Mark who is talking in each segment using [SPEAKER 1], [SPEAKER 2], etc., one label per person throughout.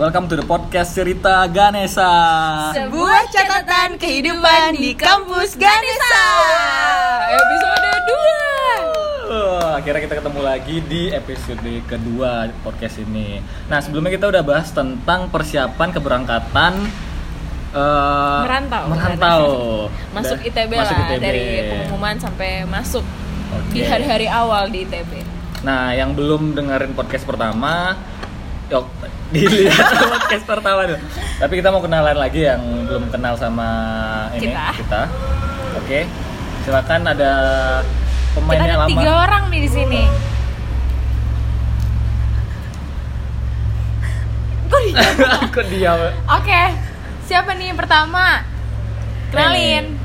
[SPEAKER 1] Welcome to the podcast cerita Ganesa.
[SPEAKER 2] Sebuah catatan kehidupan di kampus Ganesha. Episode
[SPEAKER 1] Uh, Akhirnya kita ketemu lagi di episode kedua podcast ini. Nah sebelumnya kita udah bahas tentang persiapan keberangkatan eh,
[SPEAKER 2] Merantau.
[SPEAKER 1] merantau.
[SPEAKER 2] 2. Masuk
[SPEAKER 1] Da-
[SPEAKER 2] ITB
[SPEAKER 1] masuk
[SPEAKER 2] lah
[SPEAKER 1] ITB.
[SPEAKER 2] dari pengumuman sampai masuk
[SPEAKER 1] Oke.
[SPEAKER 2] di hari-hari awal di ITB.
[SPEAKER 1] Nah, yang belum dengerin podcast pertama, yuk dilihat podcast pertama dulu. Tapi kita mau kenalan lagi yang belum kenal sama ini
[SPEAKER 2] Kita.
[SPEAKER 1] Oke, silakan ada
[SPEAKER 2] Kita
[SPEAKER 1] pemainnya
[SPEAKER 2] ada
[SPEAKER 1] lama.
[SPEAKER 2] tiga orang nih di sini. Kok di-
[SPEAKER 1] Kok diam?
[SPEAKER 2] Oke, siapa nih yang pertama? Kenalin,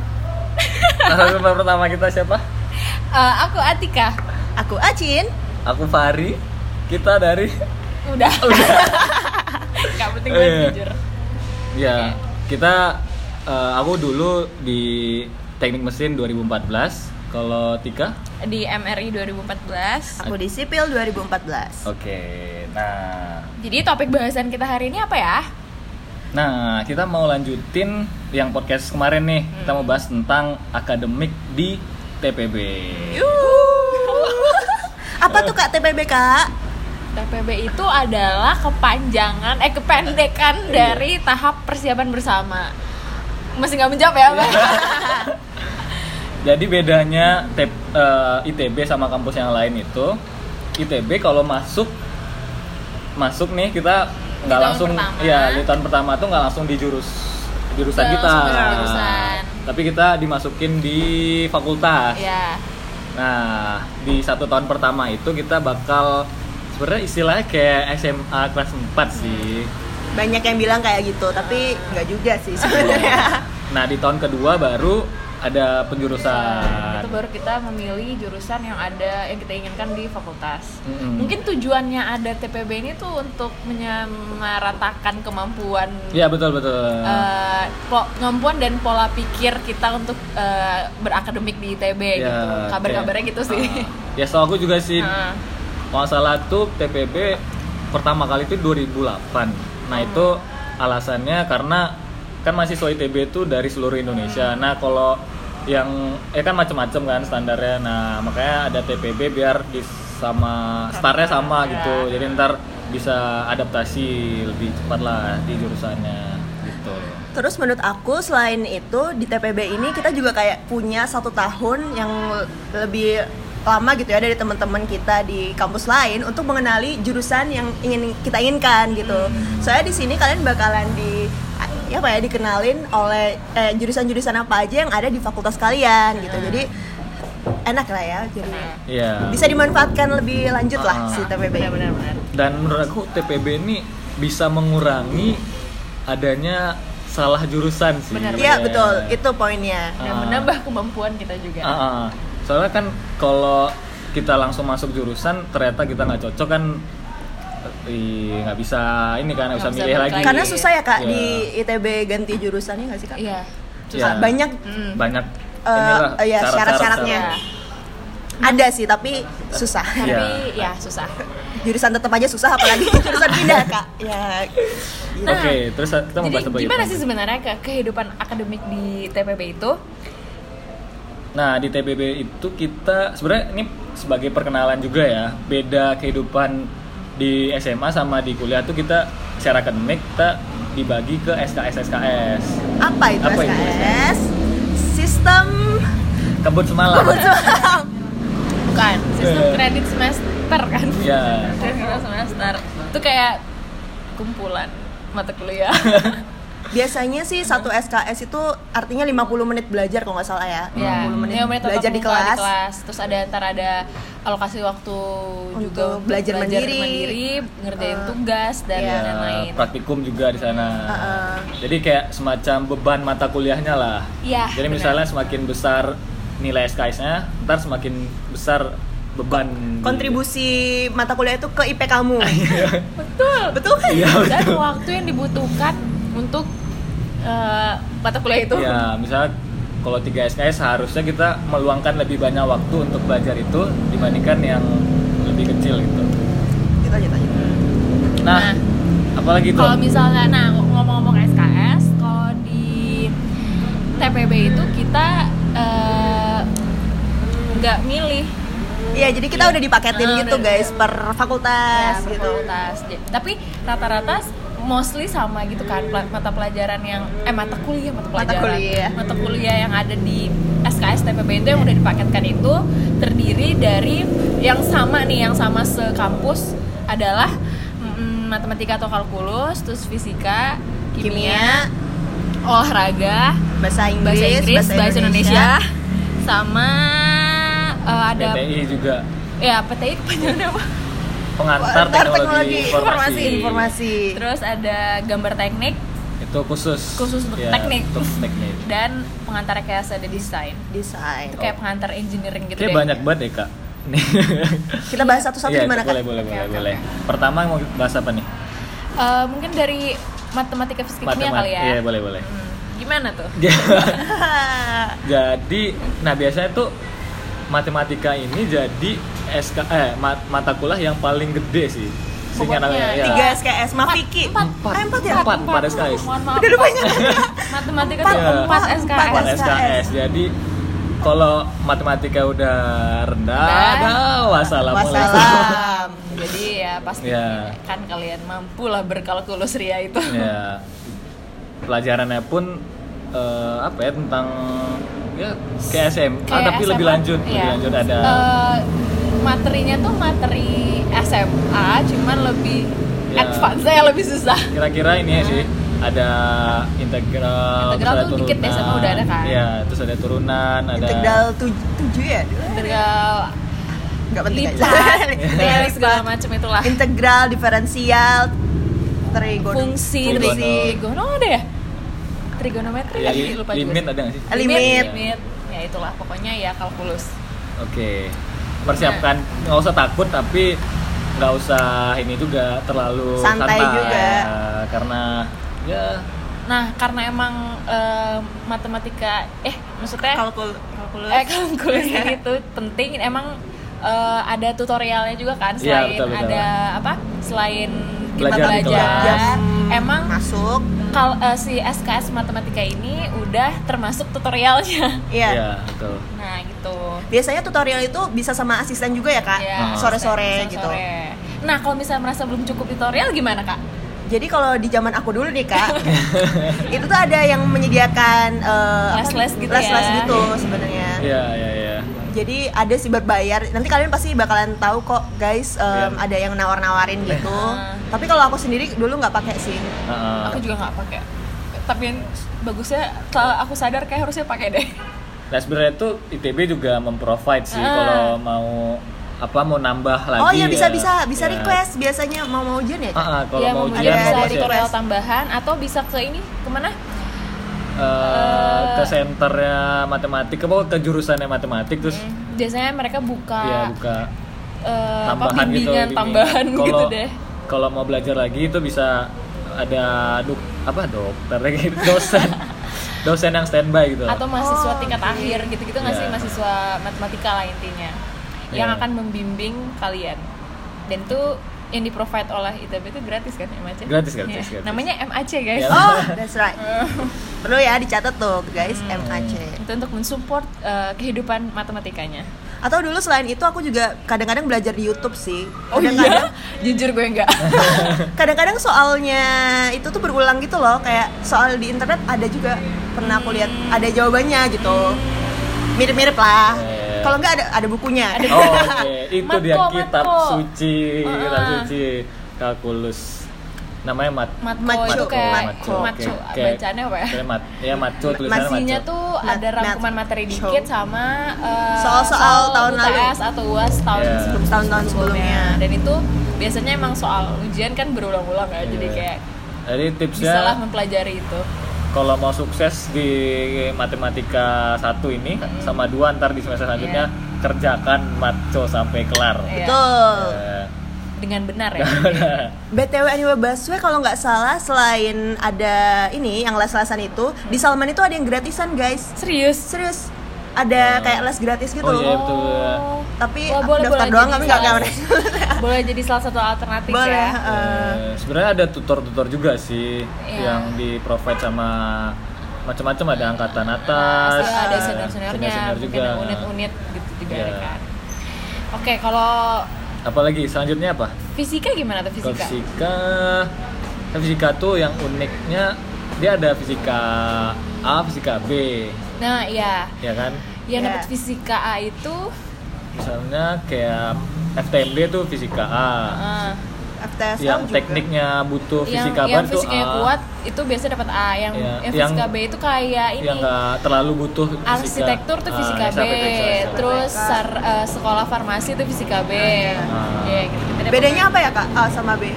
[SPEAKER 1] Narasumber pertama kita siapa?
[SPEAKER 2] Eh, aku Atika.
[SPEAKER 3] Aku Acin.
[SPEAKER 1] Aku Fahri. Kita dari
[SPEAKER 2] Udah. Udah. Gak penting
[SPEAKER 1] Oh, iya.
[SPEAKER 2] banget jujur.
[SPEAKER 1] ya kita eh, aku dulu di teknik mesin 2014. Kalau Tika?
[SPEAKER 2] Di MRI 2014.
[SPEAKER 3] Aku di sipil 2014.
[SPEAKER 1] Oke. Nah,
[SPEAKER 2] Jadi topik bahasan kita hari ini apa ya?
[SPEAKER 1] Nah, kita mau lanjutin yang podcast kemarin nih.
[SPEAKER 2] Hmm.
[SPEAKER 1] Kita mau bahas tentang akademik di TPB.
[SPEAKER 3] Apa tuh Kak TPB Kak?
[SPEAKER 2] TPB itu adalah kepanjangan eh
[SPEAKER 1] Iya.
[SPEAKER 2] kependekan dari tahap persiapan bersama. Masih nggak menjawab ya, Mbak?
[SPEAKER 1] Jadi bedanya T- eh, ITB sama kampus yang lain itu, ITB kalau masuk masuk nih kita nggak
[SPEAKER 2] Di tahun
[SPEAKER 1] langsung
[SPEAKER 2] pertama.
[SPEAKER 1] ya di tahun pertama tuh nggak langsung di jurus jurusan
[SPEAKER 2] Nggak
[SPEAKER 1] kita.
[SPEAKER 2] langsung ke jurusan.
[SPEAKER 1] Tapi kita dimasukin di fakultas.
[SPEAKER 2] ya,
[SPEAKER 1] Nah, di satu tahun pertama itu kita bakal sebenarnya istilahnya kayak SMA kelas 4 sih.
[SPEAKER 3] Banyak yang bilang kayak gitu, tapi nggak juga sih sebenarnya.
[SPEAKER 1] Nah, di tahun kedua baru ada
[SPEAKER 2] itu
[SPEAKER 1] penjurusan.
[SPEAKER 2] baru kita memilih jurusan yang ada yang kita inginkan di fakultas.
[SPEAKER 1] Mm-mm.
[SPEAKER 2] Mungkin tujuannya ada TPB ini tuh untuk menyamaratakan kemampuan
[SPEAKER 1] Iya, betul betul.
[SPEAKER 2] eh, po- kemampuan dan pola pikir kita untuk eh, berakademik di ITB
[SPEAKER 1] Ya,
[SPEAKER 2] gitu. Kabar-kabarnya
[SPEAKER 1] kayak-
[SPEAKER 2] gitu sih. Eh.
[SPEAKER 1] Ah. ya, soal aku juga sih.
[SPEAKER 2] Heeh.
[SPEAKER 1] Kalau nggak salah tuh TPB pertama kali itu 2008. Nah,
[SPEAKER 3] Hmm.
[SPEAKER 1] itu alasannya karena kan mahasiswa ITB itu dari seluruh Indonesia.
[SPEAKER 3] Hmm.
[SPEAKER 1] Nah, kalau yang eh kan macam-macam kan standarnya. Nah, makanya ada TPB biar di sama startnya sama
[SPEAKER 3] ya.
[SPEAKER 1] gitu. Jadi ntar bisa adaptasi lebih cepat lah di jurusannya gitu.
[SPEAKER 3] Terus menurut aku selain itu di TPB ini kita juga kayak punya satu tahun yang lebih lama gitu ya dari teman-teman kita di kampus lain untuk mengenali jurusan yang ingin kita inginkan gitu. Soalnya di sini kalian bakalan di ya apa ya dikenalin oleh eh, jurusan-jurusan apa aja yang ada di fakultas kalian gitu. Jadi enak lah ya jadi
[SPEAKER 1] Iya.
[SPEAKER 3] bisa dimanfaatkan lebih lanjut lah
[SPEAKER 1] Ah.
[SPEAKER 3] si TPB. ini.
[SPEAKER 2] Benar-benar.
[SPEAKER 1] dan menurut aku TPB ini bisa mengurangi adanya salah jurusan sih.
[SPEAKER 2] Benar,
[SPEAKER 3] Iya betul, itu poinnya.
[SPEAKER 2] dan
[SPEAKER 1] Ah.
[SPEAKER 2] menambah kemampuan kita juga.
[SPEAKER 1] Ah, ah. Soalnya kan kalau kita langsung masuk jurusan ternyata kita nggak cocok kan ih, nggak bisa ini kan nggak bisa
[SPEAKER 2] Nggak bisa
[SPEAKER 1] milih
[SPEAKER 2] balik
[SPEAKER 1] lagi.
[SPEAKER 2] lagi.
[SPEAKER 3] Karena susah ya kak
[SPEAKER 1] Iya.
[SPEAKER 3] di ITB ganti jurusannya nggak sih kak?
[SPEAKER 2] Iya.
[SPEAKER 1] Iya.
[SPEAKER 3] Ah, Banyak
[SPEAKER 2] Mm.
[SPEAKER 1] banyak
[SPEAKER 3] Eh,
[SPEAKER 1] inilah
[SPEAKER 3] eh, ya, syarat-syaratnya.
[SPEAKER 2] Iya.
[SPEAKER 3] ada sih tapi susah.
[SPEAKER 2] Tapi
[SPEAKER 1] Iya.
[SPEAKER 2] ya susah.
[SPEAKER 3] Jurusan tetap aja susah apalagi jurusan pindah kak. Ya
[SPEAKER 1] Oke,
[SPEAKER 2] Nah,
[SPEAKER 1] terus kita mau
[SPEAKER 2] Jadi
[SPEAKER 1] bahas apa gitu?
[SPEAKER 2] gimana sih sebenarnya ke kehidupan akademik di TPB itu?
[SPEAKER 1] Nah di TBB itu kita sebenarnya ini sebagai perkenalan juga ya beda kehidupan di SMA sama di kuliah tuh kita secara akademik kita dibagi ke SKS SKS
[SPEAKER 3] apa itu
[SPEAKER 1] Apa itu
[SPEAKER 3] SKS? Sistem
[SPEAKER 1] kebut semalam
[SPEAKER 2] Bukan, sistem
[SPEAKER 1] Eh.
[SPEAKER 2] kredit semester kan.
[SPEAKER 3] Iya.
[SPEAKER 1] ya
[SPEAKER 2] Kredit semester. Itu kayak kumpulan mata kuliah.
[SPEAKER 3] biasanya sih satu SKS itu artinya 50 menit belajar kalau nggak salah ya.
[SPEAKER 2] ya,
[SPEAKER 3] 50 menit
[SPEAKER 2] lima menit
[SPEAKER 3] belajar
[SPEAKER 2] tatap
[SPEAKER 3] di
[SPEAKER 2] muka
[SPEAKER 3] kelas.
[SPEAKER 2] Terus ada ntar ada alokasi waktu juga
[SPEAKER 3] Untuk belajar mandiri.
[SPEAKER 2] ngerjain tugas dan
[SPEAKER 3] Iya.
[SPEAKER 2] lain-lain.
[SPEAKER 1] Ya, praktikum juga di sana
[SPEAKER 3] Heeh.
[SPEAKER 1] jadi kayak semacam beban mata kuliahnya lah
[SPEAKER 2] Iya,
[SPEAKER 1] jadi
[SPEAKER 2] benar.
[SPEAKER 1] misalnya semakin besar nilai SKS-nya ntar semakin besar beban di-
[SPEAKER 3] Kontribusi mata kuliah itu ke IP kamu.
[SPEAKER 2] Betul.
[SPEAKER 3] Betul kan?
[SPEAKER 1] Ah, Iya,
[SPEAKER 2] dan waktu yang dibutuhkan untuk eh, mata kuliah itu
[SPEAKER 1] Ya, misalnya kalau 3 SKS harusnya kita meluangkan lebih banyak waktu untuk belajar itu dibandingkan yang lebih kecil gitu.
[SPEAKER 3] Gitu aja tanya.
[SPEAKER 1] Nah,
[SPEAKER 2] Nah.
[SPEAKER 1] apa apalagi tuh
[SPEAKER 2] Kalau misalnya, nah ngomong-ngomong SKS, kalau di TPB itu kita eh, nggak milih
[SPEAKER 3] Iya, jadi kita udah dipaketin
[SPEAKER 2] Ah,
[SPEAKER 3] gitu
[SPEAKER 2] udah-
[SPEAKER 3] guys per
[SPEAKER 2] ya,
[SPEAKER 3] fakultas
[SPEAKER 2] per
[SPEAKER 3] gitu.
[SPEAKER 2] fakultas. Ja- Tapi rata-rata s- mostly sama gitu kan pla- mata pelajaran yang eh mata kuliah mata
[SPEAKER 3] Mata
[SPEAKER 2] pelajaran
[SPEAKER 3] kuliah.
[SPEAKER 2] Mata kuliah yang ada di SKS TPB itu yang udah dipaketkan itu terdiri dari yang sama nih yang sama sekampus adalah mm, matematika atau kalkulus terus fisika kimia,
[SPEAKER 3] Kimia,
[SPEAKER 2] olahraga
[SPEAKER 3] bahasa Inggris,
[SPEAKER 2] bahasa Inggris bahasa, Indonesia, sama eh, ada
[SPEAKER 1] PTI juga
[SPEAKER 2] ya PTI kepanjangannya apa
[SPEAKER 1] pengantar
[SPEAKER 3] Pengantar
[SPEAKER 1] teknologi,
[SPEAKER 3] teknologi
[SPEAKER 1] informasi.
[SPEAKER 3] informasi.
[SPEAKER 2] Terus ada gambar teknik
[SPEAKER 1] itu khusus Iya,
[SPEAKER 2] Khusus untuk teknik.
[SPEAKER 1] untuk teknik
[SPEAKER 2] dan pengantar rekayasa ada desain.
[SPEAKER 3] Desain.
[SPEAKER 2] Itu kayak pengantar engineering gitu
[SPEAKER 1] Oh. Kayak
[SPEAKER 2] deh.
[SPEAKER 1] banyak banget ya kak
[SPEAKER 3] Kita bahas satu-satu
[SPEAKER 1] Iya,
[SPEAKER 3] gimana
[SPEAKER 1] boleh
[SPEAKER 3] kan?
[SPEAKER 1] boleh
[SPEAKER 2] Oke,
[SPEAKER 1] boleh
[SPEAKER 2] oke,
[SPEAKER 1] boleh pertama mau bahas apa nih
[SPEAKER 2] Eh, mungkin dari matematika fisika kimia
[SPEAKER 1] Matemat-
[SPEAKER 2] kali ya.
[SPEAKER 1] iya boleh boleh
[SPEAKER 2] Hmm, Gimana tuh?
[SPEAKER 1] jadi nah biasanya tuh matematika ini jadi SK eh mat- mata kuliah yang paling gede sih singkatan
[SPEAKER 2] Pokoknya
[SPEAKER 1] ya.
[SPEAKER 3] Tiga SKS, Mafiki.
[SPEAKER 2] Empat.
[SPEAKER 1] Empat.
[SPEAKER 3] Ah, empat ya?
[SPEAKER 1] Empat. pada SKS.
[SPEAKER 2] Mohon maaf.
[SPEAKER 3] Udah, udah
[SPEAKER 2] Pak.
[SPEAKER 3] banyak.
[SPEAKER 2] matematika
[SPEAKER 1] Empat,
[SPEAKER 2] tuh
[SPEAKER 1] empat,
[SPEAKER 2] empat
[SPEAKER 3] empat.
[SPEAKER 2] SKS.
[SPEAKER 1] Empat SKS.
[SPEAKER 3] SKS.
[SPEAKER 1] jadi kalau matematika udah rendah
[SPEAKER 2] Rendah.
[SPEAKER 1] ada wasalah
[SPEAKER 3] Wassalam.
[SPEAKER 2] Jadi ya pasti
[SPEAKER 1] Iya.
[SPEAKER 2] kan kalian mampu lah berkalkulus ria itu.
[SPEAKER 1] ya pelajarannya pun eh, apa ya tentang ya kayak SMA
[SPEAKER 2] Kayak
[SPEAKER 1] Ah, tapi lebih
[SPEAKER 2] SMA,
[SPEAKER 1] lanjut lebih
[SPEAKER 2] iya.
[SPEAKER 1] lanjut ada
[SPEAKER 2] Eh, materinya tuh materi SMA cuman lebih
[SPEAKER 1] Iya.
[SPEAKER 2] advance ya lebih susah
[SPEAKER 1] kira-kira ini ya sih ada integral,
[SPEAKER 2] Integral
[SPEAKER 1] terus ada
[SPEAKER 2] tuh dikit deh, sama udah ada kan?
[SPEAKER 1] Iya, terus ada turunan, ada
[SPEAKER 3] Integral tuj- tujuh ya?
[SPEAKER 2] integral
[SPEAKER 3] Enggak penting aja.
[SPEAKER 2] lipat
[SPEAKER 3] Iya,
[SPEAKER 2] ya, segala
[SPEAKER 3] lipat.
[SPEAKER 2] macam itulah
[SPEAKER 3] Integral, diferensial, trigonometri.
[SPEAKER 2] fungsi
[SPEAKER 1] Trigono.
[SPEAKER 2] trigono ada ya trigonometri
[SPEAKER 1] ya,
[SPEAKER 2] Aduh,
[SPEAKER 1] li-
[SPEAKER 2] lupa juga.
[SPEAKER 1] limit ada nggak sih?
[SPEAKER 3] Eh, limit.
[SPEAKER 2] limit ya itulah pokoknya ya kalkulus
[SPEAKER 1] Oke. Persiapkan nggak usah takut tapi nggak usah ini juga terlalu
[SPEAKER 3] Santai juga.
[SPEAKER 1] Ya, karena ya
[SPEAKER 2] nah karena emang eh, matematika eh maksudnya
[SPEAKER 3] Kalkul- kalkulus.
[SPEAKER 2] eh kalkulus ini tuh penting emang eh, ada tutorialnya juga kan
[SPEAKER 1] Iya,
[SPEAKER 2] selain
[SPEAKER 1] betul, betul.
[SPEAKER 2] ada apa selain kita
[SPEAKER 1] Belajar gitu di
[SPEAKER 2] belajar,
[SPEAKER 1] kelas.
[SPEAKER 3] Jam
[SPEAKER 2] emang
[SPEAKER 3] masuk.
[SPEAKER 2] kal eh, si SKS matematika ini udah termasuk tutorialnya
[SPEAKER 3] Iya.
[SPEAKER 1] ya betul.
[SPEAKER 2] nah gitu
[SPEAKER 3] Biasanya tutorial itu bisa sama asisten juga ya, Kak?
[SPEAKER 2] Ya, sore-
[SPEAKER 3] Sore-sore gitu.
[SPEAKER 2] sore. nah kalau misalnya merasa belum cukup tutorial gimana kak
[SPEAKER 3] Jadi kalau di zaman aku dulu nih kak, itu tuh ada yang menyediakan eh, apa-
[SPEAKER 2] Les-les gitu ya.
[SPEAKER 3] les-les gitu sebenarnya.
[SPEAKER 1] Iya, iya, iya.
[SPEAKER 3] Jadi ada sih berbayar. Nanti kalian pasti bakalan tahu kok guys,
[SPEAKER 1] Iya.
[SPEAKER 3] em, ada yang nawar-nawarin gitu.
[SPEAKER 2] Iya.
[SPEAKER 3] Tapi kalau aku sendiri dulu nggak pakai sih.
[SPEAKER 1] Heeh.
[SPEAKER 2] aku juga nggak pakai tapi yang bagusnya setelah aku sadar kayak harusnya pakai deh
[SPEAKER 1] Nah, sebenarnya itu ITB juga memprovide sih
[SPEAKER 2] Ah.
[SPEAKER 1] kalau mau apa mau nambah lagi.
[SPEAKER 3] oh iya
[SPEAKER 1] ya,
[SPEAKER 3] bisa bisa bisa
[SPEAKER 1] ya.
[SPEAKER 3] request biasanya mau mau ujian ya. Kak?
[SPEAKER 1] Ah, ah, kalau
[SPEAKER 2] ya
[SPEAKER 1] mau
[SPEAKER 2] mungkin
[SPEAKER 1] ujian
[SPEAKER 3] ada
[SPEAKER 1] mau pas ya.
[SPEAKER 2] bisa
[SPEAKER 3] tutorial.
[SPEAKER 2] tutorial tambahan atau bisa ke ini kemana
[SPEAKER 1] Eh, ke
[SPEAKER 2] Eh.
[SPEAKER 1] senternya matematik apa ke jurusannya matematik terus
[SPEAKER 3] Hmm.
[SPEAKER 2] biasanya mereka buka,
[SPEAKER 1] ya buka
[SPEAKER 2] Hmm, eh, apa,
[SPEAKER 1] tambahan gitu
[SPEAKER 2] bimbingan
[SPEAKER 1] bimbingan.
[SPEAKER 2] tambahan
[SPEAKER 1] Kalau-
[SPEAKER 2] gitu deh
[SPEAKER 1] kalau mau belajar lagi itu bisa ada duk, apa dokter lagi dosen dosen yang standby gitu lah.
[SPEAKER 2] atau mahasiswa
[SPEAKER 3] Oh,
[SPEAKER 2] tingkat akhir gitu-gitu nggak sih
[SPEAKER 1] Iya.
[SPEAKER 2] mahasiswa matematika lah intinya yang
[SPEAKER 1] Iya.
[SPEAKER 2] akan membimbing kalian dan itu yang di provide oleh ITB itu gratis kan MAC?
[SPEAKER 1] Gratis, gratis,
[SPEAKER 2] Iya.
[SPEAKER 1] gratis.
[SPEAKER 2] Namanya MAC guys.
[SPEAKER 1] Iya.
[SPEAKER 3] Oh that's right. Perlu ya dicatat tuh guys
[SPEAKER 2] Hmm.
[SPEAKER 3] MAC.
[SPEAKER 2] Itu untuk mensupport eh, kehidupan matematikanya.
[SPEAKER 3] Atau dulu selain itu aku juga kadang-kadang belajar di YouTube sih.
[SPEAKER 2] Oh
[SPEAKER 3] Kadang-kadang-
[SPEAKER 2] iya, jujur gue enggak.
[SPEAKER 3] kadang-kadang soalnya itu tuh berulang gitu loh kayak soal di internet ada juga pernah aku lihat ada jawabannya gitu mirip-mirip lah
[SPEAKER 1] Iya.
[SPEAKER 3] kalau nggak ada ada bukunya Iya.
[SPEAKER 1] oh oke itu
[SPEAKER 2] Matko,
[SPEAKER 1] dia kitab
[SPEAKER 2] matko.
[SPEAKER 1] suci
[SPEAKER 2] Ah,
[SPEAKER 1] kitab
[SPEAKER 2] ah.
[SPEAKER 1] suci kalkulus namanya mat
[SPEAKER 2] Matko
[SPEAKER 3] Maco.
[SPEAKER 2] itu kayak
[SPEAKER 1] Maco,
[SPEAKER 2] maco,
[SPEAKER 1] oke. Kayak-
[SPEAKER 2] bacaannya apa ya?
[SPEAKER 1] kayak mat ya maco tulisannya
[SPEAKER 2] Masihnya
[SPEAKER 1] maco.
[SPEAKER 2] tuh
[SPEAKER 3] Mat-
[SPEAKER 2] ada rangkuman
[SPEAKER 3] mat-
[SPEAKER 2] materi
[SPEAKER 3] show.
[SPEAKER 2] dikit sama eh,
[SPEAKER 3] Soal-soal tahun lalu.
[SPEAKER 2] UTS atau UAS tahun
[SPEAKER 1] Iya.
[SPEAKER 2] sebelum
[SPEAKER 3] Tahun-tahun sebelumnya.
[SPEAKER 2] Dan itu biasanya emang soal ujian kan berulang-ulang ya, jadi
[SPEAKER 1] Iya.
[SPEAKER 2] kayak
[SPEAKER 1] jadi tipsnya
[SPEAKER 2] bisalah mempelajari itu.
[SPEAKER 1] kalau mau sukses di matematika satu ini sama dua ntar di semester selanjutnya kerjakan matco sampai kelar.
[SPEAKER 2] Iya.
[SPEAKER 3] betul
[SPEAKER 1] Eh,
[SPEAKER 2] dengan benar ya.
[SPEAKER 3] btw Aniwa Baswe kalau nggak salah selain ada ini yang les-lesan itu di Salman itu ada yang gratisan guys
[SPEAKER 2] Serius.
[SPEAKER 3] serius ada kayak les gratis gitu
[SPEAKER 1] Oh, iya, betul.
[SPEAKER 3] tapi
[SPEAKER 2] Wah,
[SPEAKER 3] aku
[SPEAKER 2] boleh,
[SPEAKER 3] daftar
[SPEAKER 2] boleh
[SPEAKER 3] doang
[SPEAKER 2] jadi
[SPEAKER 3] tapi nggak
[SPEAKER 2] salah-
[SPEAKER 3] nggak-
[SPEAKER 2] boleh jadi salah satu alternatif
[SPEAKER 3] boleh
[SPEAKER 2] ya
[SPEAKER 3] eh,
[SPEAKER 1] Eh, sebenarnya ada tutor-tutor juga sih
[SPEAKER 2] Iya.
[SPEAKER 1] yang di provide sama macam-macam ada angkatan atas,
[SPEAKER 2] Pasti Iya, ada
[SPEAKER 1] eh,
[SPEAKER 2] senior-seniornya
[SPEAKER 1] senior-senior
[SPEAKER 2] mungkin
[SPEAKER 1] juga.
[SPEAKER 2] ada unit-unit gitu juga
[SPEAKER 1] Iya.
[SPEAKER 2] kan oke kalau
[SPEAKER 1] Apalagi selanjutnya apa?
[SPEAKER 2] fisika gimana tuh
[SPEAKER 1] Kalau
[SPEAKER 2] fisika
[SPEAKER 1] fisika, nah, fisika tuh yang uniknya dia ada fisika A, fisika B,
[SPEAKER 2] nah iya
[SPEAKER 1] ya kan?
[SPEAKER 2] yang
[SPEAKER 3] Iya.
[SPEAKER 2] dapat fisika A itu
[SPEAKER 1] Misalnya kayak FTMB tuh fisika A,
[SPEAKER 2] eh,
[SPEAKER 3] FTSL
[SPEAKER 1] yang
[SPEAKER 3] juga.
[SPEAKER 1] tekniknya butuh Oh,
[SPEAKER 2] yang
[SPEAKER 1] fisika
[SPEAKER 2] yang
[SPEAKER 1] ban tuh
[SPEAKER 2] fisikanya
[SPEAKER 1] A,
[SPEAKER 2] kuat itu biasanya dapat A yang
[SPEAKER 1] Iya.
[SPEAKER 2] yang
[SPEAKER 1] Yang-
[SPEAKER 2] fisika B itu kayak ini
[SPEAKER 1] yang nggak terlalu butuh fisika.
[SPEAKER 2] arsitektur tuh
[SPEAKER 1] Ah,
[SPEAKER 2] fisika B
[SPEAKER 1] arsitektur.
[SPEAKER 2] terus sar- eh, sekolah farmasi tuh fisika B
[SPEAKER 1] Ah.
[SPEAKER 2] Iya, gitu. Kita dapat
[SPEAKER 3] bedanya apa ya kak A sama B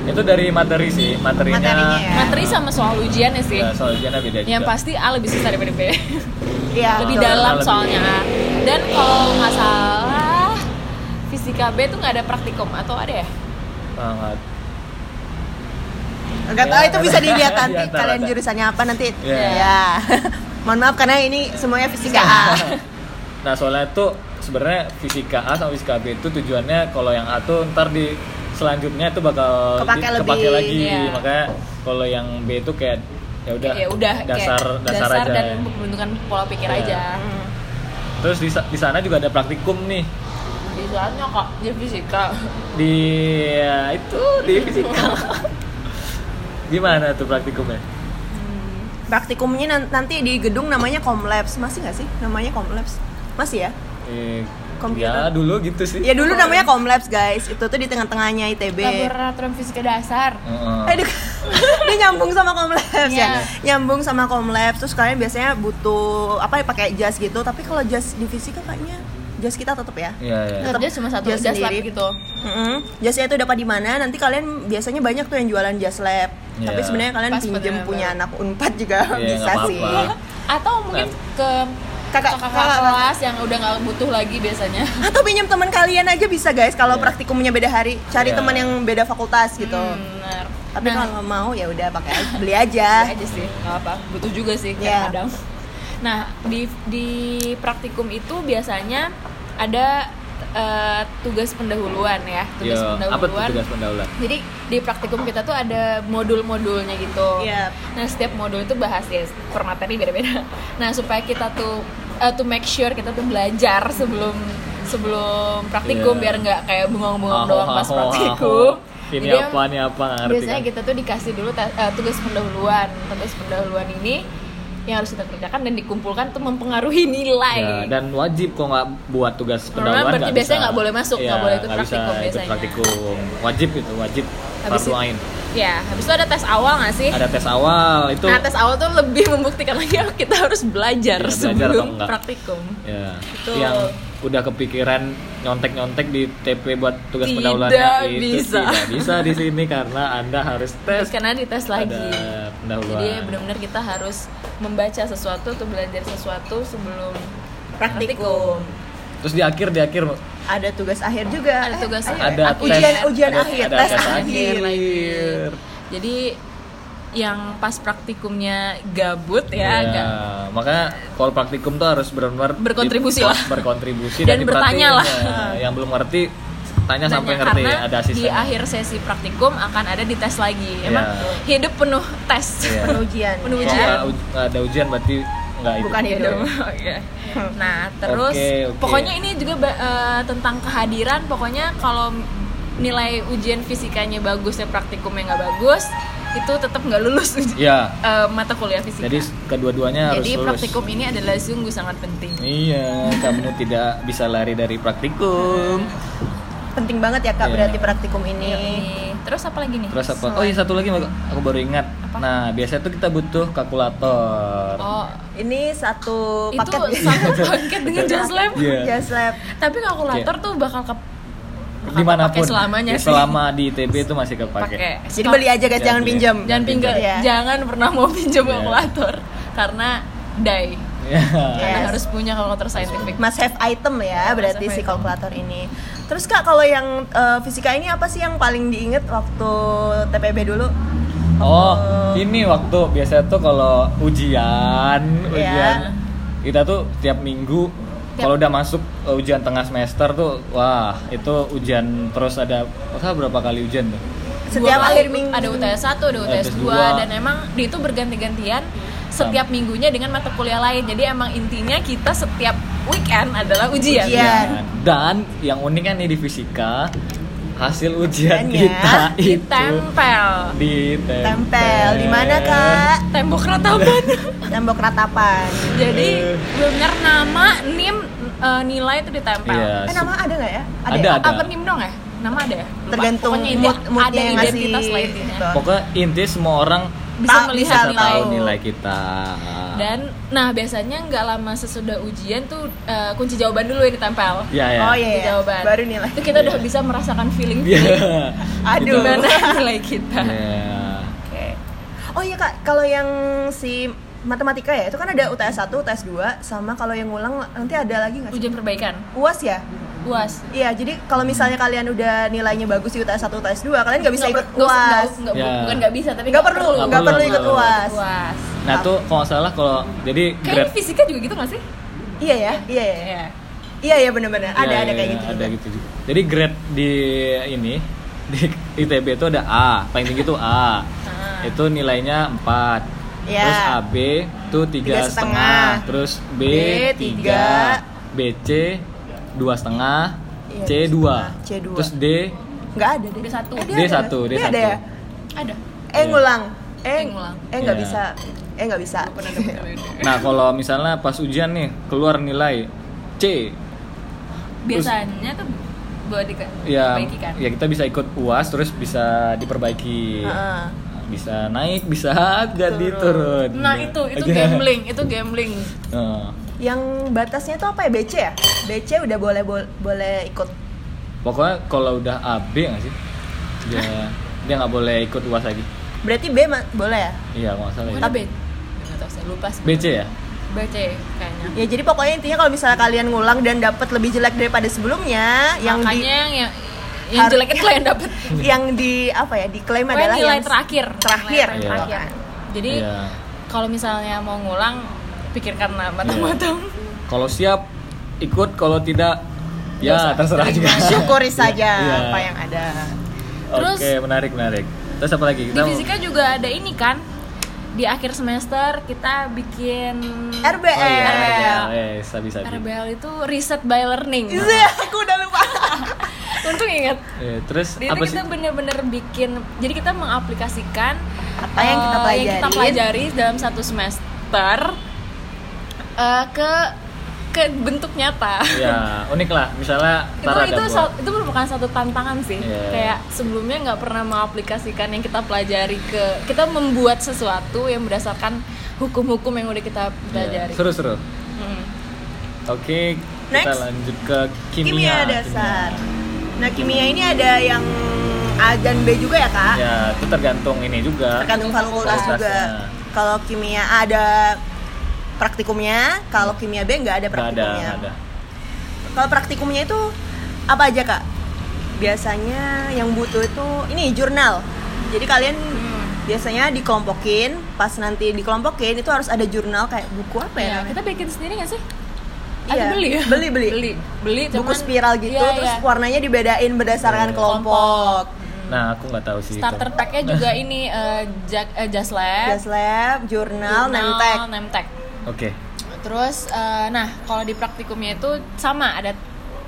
[SPEAKER 1] itu dari materi sih materinya,
[SPEAKER 3] Materinya ya.
[SPEAKER 2] materi sama soal ujiannya sih
[SPEAKER 1] ya, soal ujiannya beda
[SPEAKER 2] yang
[SPEAKER 1] juga.
[SPEAKER 2] pasti A lebih susah daripada B
[SPEAKER 3] Iya,
[SPEAKER 2] lebih
[SPEAKER 3] betul.
[SPEAKER 2] dalam
[SPEAKER 1] Lebih-
[SPEAKER 2] soalnya A dan kalau nggak salah fisika B tuh nggak ada praktikum atau ada ya
[SPEAKER 1] Sangat.
[SPEAKER 3] Gak tahu itu bisa dilihat
[SPEAKER 1] Iya,
[SPEAKER 3] nanti
[SPEAKER 1] iya,
[SPEAKER 3] kalian
[SPEAKER 1] iya.
[SPEAKER 3] jurusannya apa nanti.
[SPEAKER 1] Iya.
[SPEAKER 3] Ya. Mohon maaf karena ini semuanya fisika A.
[SPEAKER 1] nah soalnya itu sebenarnya fisika A sama fisika B itu tujuannya kalau yang A tuh ntar di selanjutnya itu bakal
[SPEAKER 3] Kepake
[SPEAKER 1] di-
[SPEAKER 3] lebih,
[SPEAKER 1] kepake lagi
[SPEAKER 2] iya.
[SPEAKER 1] makanya kalau yang B itu kayak ya udah
[SPEAKER 2] ya udah
[SPEAKER 1] dasar,
[SPEAKER 2] kayak
[SPEAKER 1] dasar aja
[SPEAKER 2] dan
[SPEAKER 1] ya.
[SPEAKER 2] pembentukan pola pikir
[SPEAKER 1] Iya.
[SPEAKER 2] aja
[SPEAKER 3] Hmm.
[SPEAKER 1] terus di, sa- di sana juga ada praktikum nih
[SPEAKER 2] di soalnya kok di fisika
[SPEAKER 1] di ya, itu di fisika gimana tuh praktikumnya
[SPEAKER 3] Praktikumnya nan- nanti di gedung namanya Komlabs. Masih nggak sih namanya Komlabs? Masih ya?
[SPEAKER 1] Eh,
[SPEAKER 3] Komputer.
[SPEAKER 1] ya dulu gitu sih
[SPEAKER 3] Ya dulu namanya Komlabs guys. Itu tuh di tengah-tengahnya ITB.
[SPEAKER 2] laboratorium fisika dasar
[SPEAKER 1] Heeh.
[SPEAKER 3] Aduh, dia nyambung sama komlabs
[SPEAKER 2] Iya.
[SPEAKER 3] ya. Nyambung sama komlabs terus kalian biasanya butuh apa ya pakai jas gitu, tapi kalau jas di fisika kayaknya jas kita tetap ya.
[SPEAKER 1] Iya, iya.
[SPEAKER 3] Tetap
[SPEAKER 2] Tetap dia cuma satu
[SPEAKER 3] dia
[SPEAKER 2] jas lab
[SPEAKER 3] sendiri.
[SPEAKER 2] gitu
[SPEAKER 3] Mm-mm. Jasnya itu dapat di mana? Nanti kalian biasanya banyak tuh yang jualan jas lab. Tapi
[SPEAKER 1] Iya.
[SPEAKER 3] sebenarnya kalian
[SPEAKER 2] Pas
[SPEAKER 3] pinjem
[SPEAKER 2] bener-bener.
[SPEAKER 3] punya anak Unpad juga
[SPEAKER 1] Iya,
[SPEAKER 3] bisa
[SPEAKER 1] nggak
[SPEAKER 3] sih.
[SPEAKER 1] apa-apa.
[SPEAKER 2] atau mungkin ke
[SPEAKER 3] Kakak-
[SPEAKER 2] kakak
[SPEAKER 3] kakak-
[SPEAKER 2] kelas yang udah nggak butuh lagi biasanya
[SPEAKER 3] Atau pinjem teman kalian aja bisa guys kalau
[SPEAKER 1] Iya.
[SPEAKER 3] praktikumnya beda hari,
[SPEAKER 1] Iya.
[SPEAKER 3] cari teman yang beda fakultas gitu.
[SPEAKER 2] Hmm, benar
[SPEAKER 3] Tapi
[SPEAKER 2] Nah,
[SPEAKER 3] kalau nggak mau ya udah pakai aja, beli aja.
[SPEAKER 2] Iya aja sih nggak apa butuh juga sih
[SPEAKER 3] Iya.
[SPEAKER 2] kadang-kadang nah di di praktikum itu biasanya ada eh, tugas pendahuluan ya tugas
[SPEAKER 1] Iya, apa tuh
[SPEAKER 2] pendahuluan
[SPEAKER 1] tugas pendahuluan
[SPEAKER 2] jadi di praktikum kita tuh ada modul-modulnya gitu
[SPEAKER 3] Iya.
[SPEAKER 2] nah setiap modul itu bahas ya per materi beda-beda nah supaya kita tuh eh, to make sure kita tuh belajar sebelum sebelum praktikum
[SPEAKER 1] Iya.
[SPEAKER 2] biar nggak kayak bengong-bengong
[SPEAKER 1] Aho,
[SPEAKER 2] doang pas
[SPEAKER 1] aho,
[SPEAKER 2] praktikum
[SPEAKER 1] aho. Ini
[SPEAKER 2] Jadi
[SPEAKER 1] apa, ini apa, nggak ngerti
[SPEAKER 2] biasanya gitu.
[SPEAKER 1] kan?
[SPEAKER 2] kita tuh dikasih dulu ta- eh, tugas pendahuluan tugas pendahuluan ini yang harus kita kerjakan dan dikumpulkan tuh
[SPEAKER 1] Ya,
[SPEAKER 2] mempengaruhi nilai
[SPEAKER 1] dan wajib kok nggak buat tugas
[SPEAKER 2] Karena
[SPEAKER 1] pendahuluan
[SPEAKER 2] berarti
[SPEAKER 1] nggak
[SPEAKER 2] biasanya
[SPEAKER 1] bisa.
[SPEAKER 2] nggak boleh masuk,
[SPEAKER 1] Iya,
[SPEAKER 2] nggak boleh ikut
[SPEAKER 1] nggak bisa
[SPEAKER 2] praktikum
[SPEAKER 1] ikut
[SPEAKER 2] biasanya.
[SPEAKER 1] praktikum. wajib itu wajib
[SPEAKER 2] Habis
[SPEAKER 1] fardu
[SPEAKER 2] itu-
[SPEAKER 1] ain
[SPEAKER 2] ya habis itu ada tes awal nggak sih
[SPEAKER 1] ada tes awal itu
[SPEAKER 2] nah tes awal tuh lebih membuktikan lagi oh, kita harus belajar
[SPEAKER 1] Iya, belajar atau
[SPEAKER 2] sebelum
[SPEAKER 1] enggak.
[SPEAKER 2] praktikum
[SPEAKER 1] ya,
[SPEAKER 2] Betul.
[SPEAKER 1] yang udah kepikiran nyontek nyontek di TP buat tugas
[SPEAKER 2] Tidak
[SPEAKER 1] pendahuluannya itu
[SPEAKER 2] bisa.
[SPEAKER 1] tidak bisa di sini karena anda harus tes
[SPEAKER 2] karena dites lagi
[SPEAKER 1] ada pendahuluan
[SPEAKER 2] jadi benar-benar kita harus membaca sesuatu atau belajar sesuatu sebelum
[SPEAKER 3] Praktikum.
[SPEAKER 1] terus di akhir di akhir
[SPEAKER 3] Ada tugas akhir juga. Eh,
[SPEAKER 2] ada tugas Iya.
[SPEAKER 1] ada
[SPEAKER 2] akhir.
[SPEAKER 1] tes
[SPEAKER 3] ujian- ujian
[SPEAKER 1] ada-
[SPEAKER 3] akhir,
[SPEAKER 1] ada
[SPEAKER 3] tes
[SPEAKER 1] tes
[SPEAKER 3] akhir.
[SPEAKER 1] akhir.
[SPEAKER 2] Nah, gitu. jadi yang pas praktikumnya gabut
[SPEAKER 1] Ya,
[SPEAKER 2] ya, agak
[SPEAKER 1] makanya kalau praktikum tuh harus benar-benar
[SPEAKER 2] Berkontribusi
[SPEAKER 1] di-
[SPEAKER 2] lah.
[SPEAKER 1] berkontribusi
[SPEAKER 2] Dan
[SPEAKER 1] diperhatiin.
[SPEAKER 2] bertanya lah.
[SPEAKER 1] Ya, Yang belum ngerti tanya sampai
[SPEAKER 2] Tanya,
[SPEAKER 1] ngerti
[SPEAKER 2] karena
[SPEAKER 1] ada asisten.
[SPEAKER 2] di akhir sesi praktikum akan ada di tes lagi emang
[SPEAKER 1] Iya.
[SPEAKER 2] hidup penuh tes
[SPEAKER 1] Iya.
[SPEAKER 3] penujian. Iya.
[SPEAKER 2] Penuh
[SPEAKER 1] Kalau
[SPEAKER 2] ujian. ya,
[SPEAKER 1] nggak uj- nggak ada ujian berarti nggak itu. Iya.
[SPEAKER 3] Bukan hidup.
[SPEAKER 2] Oke. Nah, terus
[SPEAKER 1] Oke, oke.
[SPEAKER 2] pokoknya ini juga ba- eh, tentang kehadiran. Pokoknya kalau nilai ujian fisikanya bagus dan praktikumnya nggak bagus, itu tetap nggak lulus uji-
[SPEAKER 1] Iya.
[SPEAKER 2] eh, mata kuliah fisika.
[SPEAKER 1] Jadi kedua-duanya harus
[SPEAKER 2] Jadi
[SPEAKER 1] lulus.
[SPEAKER 2] praktikum ini adalah sungguh sangat penting.
[SPEAKER 1] Iya, kamu tidak bisa lari dari praktikum.
[SPEAKER 3] Penting banget ya kak
[SPEAKER 1] Iya.
[SPEAKER 3] berarti praktikum ini.
[SPEAKER 2] Ini. Terus apa lagi nih?
[SPEAKER 1] Terus apa? Oh iya satu lagi Mbak. aku baru ingat. Nah biasanya tuh kita butuh kalkulator.
[SPEAKER 2] Oh,
[SPEAKER 3] Ini satu
[SPEAKER 2] itu
[SPEAKER 3] paket ya.
[SPEAKER 2] satu paket dengan jazz lab.
[SPEAKER 1] Iya.
[SPEAKER 3] Jas lab.
[SPEAKER 2] Tapi kalkulator tuh bakal ke bakal
[SPEAKER 1] Dimanapun, Ya,
[SPEAKER 2] kepake selamanya sih.
[SPEAKER 1] selama di ITB itu masih kepake.
[SPEAKER 2] pakai.
[SPEAKER 3] Jadi beli aja guys,
[SPEAKER 1] Jangan
[SPEAKER 3] jangan
[SPEAKER 1] beli.
[SPEAKER 3] pinjam.
[SPEAKER 2] jangan pinjam
[SPEAKER 3] Iya.
[SPEAKER 2] jangan pernah mau pinjam
[SPEAKER 1] Iya.
[SPEAKER 2] kalkulator karena die
[SPEAKER 1] Iya.
[SPEAKER 2] karena
[SPEAKER 3] Yes.
[SPEAKER 2] harus punya kalkulator scientific
[SPEAKER 3] Must have item ya, berarti
[SPEAKER 2] have
[SPEAKER 3] si
[SPEAKER 2] item.
[SPEAKER 3] kalkulator ini. Terus kak, kalau yang eh, fisika ini apa sih yang paling diinget waktu TPB dulu?
[SPEAKER 1] Oh, ini waktu
[SPEAKER 3] Iya.
[SPEAKER 1] biasa tuh kalau ujian, ujian kita tuh tiap minggu
[SPEAKER 2] Tiap-
[SPEAKER 1] Kalau udah masuk eh, ujian tengah semester tuh, wah itu ujian terus ada wah, berapa kali ujian tuh?
[SPEAKER 3] Setiap
[SPEAKER 2] Dua
[SPEAKER 3] akhir
[SPEAKER 2] kali.
[SPEAKER 3] minggu.
[SPEAKER 2] ada UTS 1, ada UTS
[SPEAKER 1] UTS
[SPEAKER 2] 2
[SPEAKER 1] dua. Iya.
[SPEAKER 2] dan emang di itu berganti-gantian setiap minggunya dengan mata kuliah lain. Jadi emang intinya kita setiap weekend adalah ujian.
[SPEAKER 3] Ujian.
[SPEAKER 1] Nah, Dan yang unik kan nih di fisika hasil ujian
[SPEAKER 3] Ujiannya
[SPEAKER 1] kita itu
[SPEAKER 2] Ditempel
[SPEAKER 1] ditempel.
[SPEAKER 3] Tempel di mana kak?
[SPEAKER 2] tembok ratapan.
[SPEAKER 3] Tembok ratapan.
[SPEAKER 2] Jadi
[SPEAKER 1] Eh.
[SPEAKER 2] bener nama, NIM, eh, nilai itu ditempel.
[SPEAKER 1] Iya.
[SPEAKER 3] Eh nama ada nggak ya?
[SPEAKER 1] Ada,
[SPEAKER 3] ya?
[SPEAKER 1] ada.
[SPEAKER 2] Apa NIM dong ya? Nama ada ya? Lupa.
[SPEAKER 3] Tergantung
[SPEAKER 2] Pokoknya ini
[SPEAKER 3] mood- moodnya
[SPEAKER 2] ada
[SPEAKER 3] yang ngasih
[SPEAKER 2] identitas lainnya.
[SPEAKER 3] gitu.
[SPEAKER 1] Pokoknya inti semua orang
[SPEAKER 2] Bisa
[SPEAKER 3] Tak
[SPEAKER 2] melihat
[SPEAKER 1] bisa
[SPEAKER 2] nilai.
[SPEAKER 1] tahu nilai kita.
[SPEAKER 2] Dan nah biasanya nggak lama sesudah ujian tuh eh, kunci jawaban dulu yang ditempel.
[SPEAKER 1] ya ya.
[SPEAKER 3] Oh iya.
[SPEAKER 2] Kunci jawaban.
[SPEAKER 3] Baru nilai.
[SPEAKER 2] Itu kita udah bisa merasakan feeling
[SPEAKER 1] Iya.
[SPEAKER 3] Aduh.
[SPEAKER 1] Itu.
[SPEAKER 2] gimana nilai kita.
[SPEAKER 1] Iya.
[SPEAKER 3] Oke. Oh iya kak, kalau yang si matematika ya itu kan ada UTS 1, UTS 2 sama kalau yang ngulang nanti ada lagi nggak? sih?
[SPEAKER 2] Ujian perbaikan.
[SPEAKER 3] UAS ya?
[SPEAKER 2] UAS.
[SPEAKER 3] Iya, jadi kalau misalnya kalian udah nilainya bagus di UTS 1, UTS 2, kalian Kan nggak bisa
[SPEAKER 2] Nggak
[SPEAKER 3] ikut
[SPEAKER 2] per- nggak usah- nggak-
[SPEAKER 3] UAS.
[SPEAKER 2] nggak-
[SPEAKER 1] Iya.
[SPEAKER 2] Bukan nggak bisa tapi
[SPEAKER 3] Nggak perlu, nggak perlu ikut
[SPEAKER 1] perlu.
[SPEAKER 3] UAS.
[SPEAKER 2] UAS.
[SPEAKER 1] Nah tuh kalau nggak salah kalau jadi
[SPEAKER 2] Kayaknya
[SPEAKER 1] grade
[SPEAKER 2] fisika juga gitu nggak sih?
[SPEAKER 3] Iya ya, iya ya.
[SPEAKER 2] Iya.
[SPEAKER 3] Iya ya benar-benar. Ada
[SPEAKER 1] Ya, ya,
[SPEAKER 3] ada kayak gitu.
[SPEAKER 1] Ada
[SPEAKER 3] juga.
[SPEAKER 1] gitu juga. Jadi grade di ini di ITB itu ada A, paling tinggi itu A.
[SPEAKER 2] Ah.
[SPEAKER 1] Itu nilainya 4.
[SPEAKER 3] Ya.
[SPEAKER 1] Terus AB itu tiga
[SPEAKER 3] Tiga setengah.
[SPEAKER 1] setengah. Terus B,
[SPEAKER 3] B, tiga.
[SPEAKER 1] 3, BC dua setengah,
[SPEAKER 3] Iya,
[SPEAKER 1] C
[SPEAKER 3] dua
[SPEAKER 1] 2.
[SPEAKER 3] setengah, C dua.
[SPEAKER 1] Terus D
[SPEAKER 3] Nggak ada deh.
[SPEAKER 2] D1.
[SPEAKER 3] Eh,
[SPEAKER 1] D
[SPEAKER 3] dia ada.
[SPEAKER 1] 1, D
[SPEAKER 3] Dia
[SPEAKER 1] 1.
[SPEAKER 3] ada ya?
[SPEAKER 2] Ada.
[SPEAKER 3] Eh
[SPEAKER 1] Iya.
[SPEAKER 3] ngulang. Eh
[SPEAKER 2] Eh, ngulang.
[SPEAKER 3] Eh nggak
[SPEAKER 1] Iya.
[SPEAKER 3] bisa. Eh nggak bisa.
[SPEAKER 2] Gua pernah dapet nilai dua.
[SPEAKER 1] Nah, kalau misalnya pas ujian nih keluar nilai C,
[SPEAKER 2] biasanya tuh buat dike-
[SPEAKER 1] ya
[SPEAKER 2] diperbaiki kan
[SPEAKER 1] ya kita bisa ikut UAS terus bisa diperbaiki.
[SPEAKER 3] Heeh.
[SPEAKER 1] Bisa naik, bisa jadi turun.
[SPEAKER 2] nah itu itu
[SPEAKER 1] Iya.
[SPEAKER 2] gambling itu gambling
[SPEAKER 1] Heeh.
[SPEAKER 3] Yang batasnya itu apa ya? BC ya? BC udah boleh bol- boleh ikut.
[SPEAKER 1] Pokoknya kalau udah AB nggak sih? Dia dia nggak boleh ikut UAS lagi.
[SPEAKER 3] Berarti B ma- boleh ya?
[SPEAKER 1] Iya, kalau nggak salah ya.
[SPEAKER 2] tapi nggak tahu saya lupa sih.
[SPEAKER 1] BC ya?
[SPEAKER 2] BC kayaknya
[SPEAKER 1] Iya.
[SPEAKER 3] Ya jadi pokoknya intinya kalau misalnya kalian ngulang dan dapat lebih jelek daripada sebelumnya, yang di
[SPEAKER 2] makanya yang yang, yang
[SPEAKER 3] Har-
[SPEAKER 2] jelek itu lah yang dapat
[SPEAKER 3] yang di apa ya? Diklaim adalah
[SPEAKER 2] nilai
[SPEAKER 3] yang
[SPEAKER 2] terakhir
[SPEAKER 3] terakhir.
[SPEAKER 2] Nilai
[SPEAKER 1] Iya.
[SPEAKER 2] terakhir jadi
[SPEAKER 1] Iya.
[SPEAKER 2] kalau misalnya mau ngulang pikirkan lah matang-matang
[SPEAKER 1] Kalau siap ikut, kalau tidak ya terserah juga.
[SPEAKER 3] Syukuri saja
[SPEAKER 1] Iya.
[SPEAKER 3] apa yang ada.
[SPEAKER 2] ya. Terus-
[SPEAKER 1] Oke, menarik menarik. Terus apa lagi?
[SPEAKER 2] di
[SPEAKER 1] Kita mau-
[SPEAKER 2] fisika juga ada ini kan di akhir semester kita bikin
[SPEAKER 3] RBL.
[SPEAKER 1] Oh iya, RBL. Eh, sabi-sabi.
[SPEAKER 2] RBL itu reset by learning
[SPEAKER 3] Iya, aku udah lupa.
[SPEAKER 2] untung ingat
[SPEAKER 1] Eh, terus
[SPEAKER 2] Di
[SPEAKER 1] apa
[SPEAKER 2] itu
[SPEAKER 1] sih?
[SPEAKER 2] kita bener-bener bikin, jadi kita mengaplikasikan
[SPEAKER 3] Apa Ah, Oh, yang kita
[SPEAKER 2] eh, yang kita
[SPEAKER 3] pelajarin.
[SPEAKER 2] pelajari dalam satu semester eh, ke ke bentuk nyata.
[SPEAKER 1] Ya, unik lah. Misalnya
[SPEAKER 2] itu
[SPEAKER 1] Tara
[SPEAKER 2] itu
[SPEAKER 1] ada
[SPEAKER 2] sa-
[SPEAKER 1] buat-
[SPEAKER 2] itu merupakan satu tantangan sih.
[SPEAKER 1] Iya.
[SPEAKER 2] Kayak sebelumnya nggak pernah mengaplikasikan yang kita pelajari ke kita membuat sesuatu yang berdasarkan hukum-hukum yang udah kita
[SPEAKER 1] Iya,
[SPEAKER 2] pelajari.
[SPEAKER 1] Seru-seru.
[SPEAKER 2] Hmm.
[SPEAKER 1] Oke, kita
[SPEAKER 3] Next.
[SPEAKER 1] lanjut ke kimia.
[SPEAKER 3] Kimia dasar. Nah, kimia ini ada yang A dan B juga ya, Kak?
[SPEAKER 1] Kimia. Ya, itu tergantung ini juga.
[SPEAKER 3] tergantung fakultas juga. Ya,
[SPEAKER 1] Fakultasnya.
[SPEAKER 3] Kalau kimia A ada praktikumnya, kalau kimia B nggak ada
[SPEAKER 1] Hmm. Nggak ada,
[SPEAKER 3] praktikumnya.
[SPEAKER 1] nggak ada.
[SPEAKER 3] Kalau praktikumnya itu apa aja kak? Biasanya yang butuh itu ini jurnal. Jadi kalian biasanya dikelompokin, pas nanti dikelompokin itu harus ada jurnal kayak buku apa ya?
[SPEAKER 2] Iya,
[SPEAKER 3] namanya?
[SPEAKER 2] kita bikin sendiri nggak sih?
[SPEAKER 3] Iya,
[SPEAKER 2] Atau beli ya?
[SPEAKER 3] beli, beli.
[SPEAKER 2] beli, beli
[SPEAKER 3] buku
[SPEAKER 2] cuman-
[SPEAKER 3] spiral gitu,
[SPEAKER 2] Iya,
[SPEAKER 3] terus
[SPEAKER 2] iya.
[SPEAKER 3] warnanya dibedain berdasarkan
[SPEAKER 1] Iya.
[SPEAKER 3] kelompok.
[SPEAKER 1] Nah, aku nggak tahu sih. itu.
[SPEAKER 2] starter packnya juga ini eh, jak- eh, just lab,
[SPEAKER 3] Gas lab, jurnal, nemtek.
[SPEAKER 2] nemtek.
[SPEAKER 1] Oke.
[SPEAKER 2] Terus, eh, nah kalau di praktikumnya itu sama ada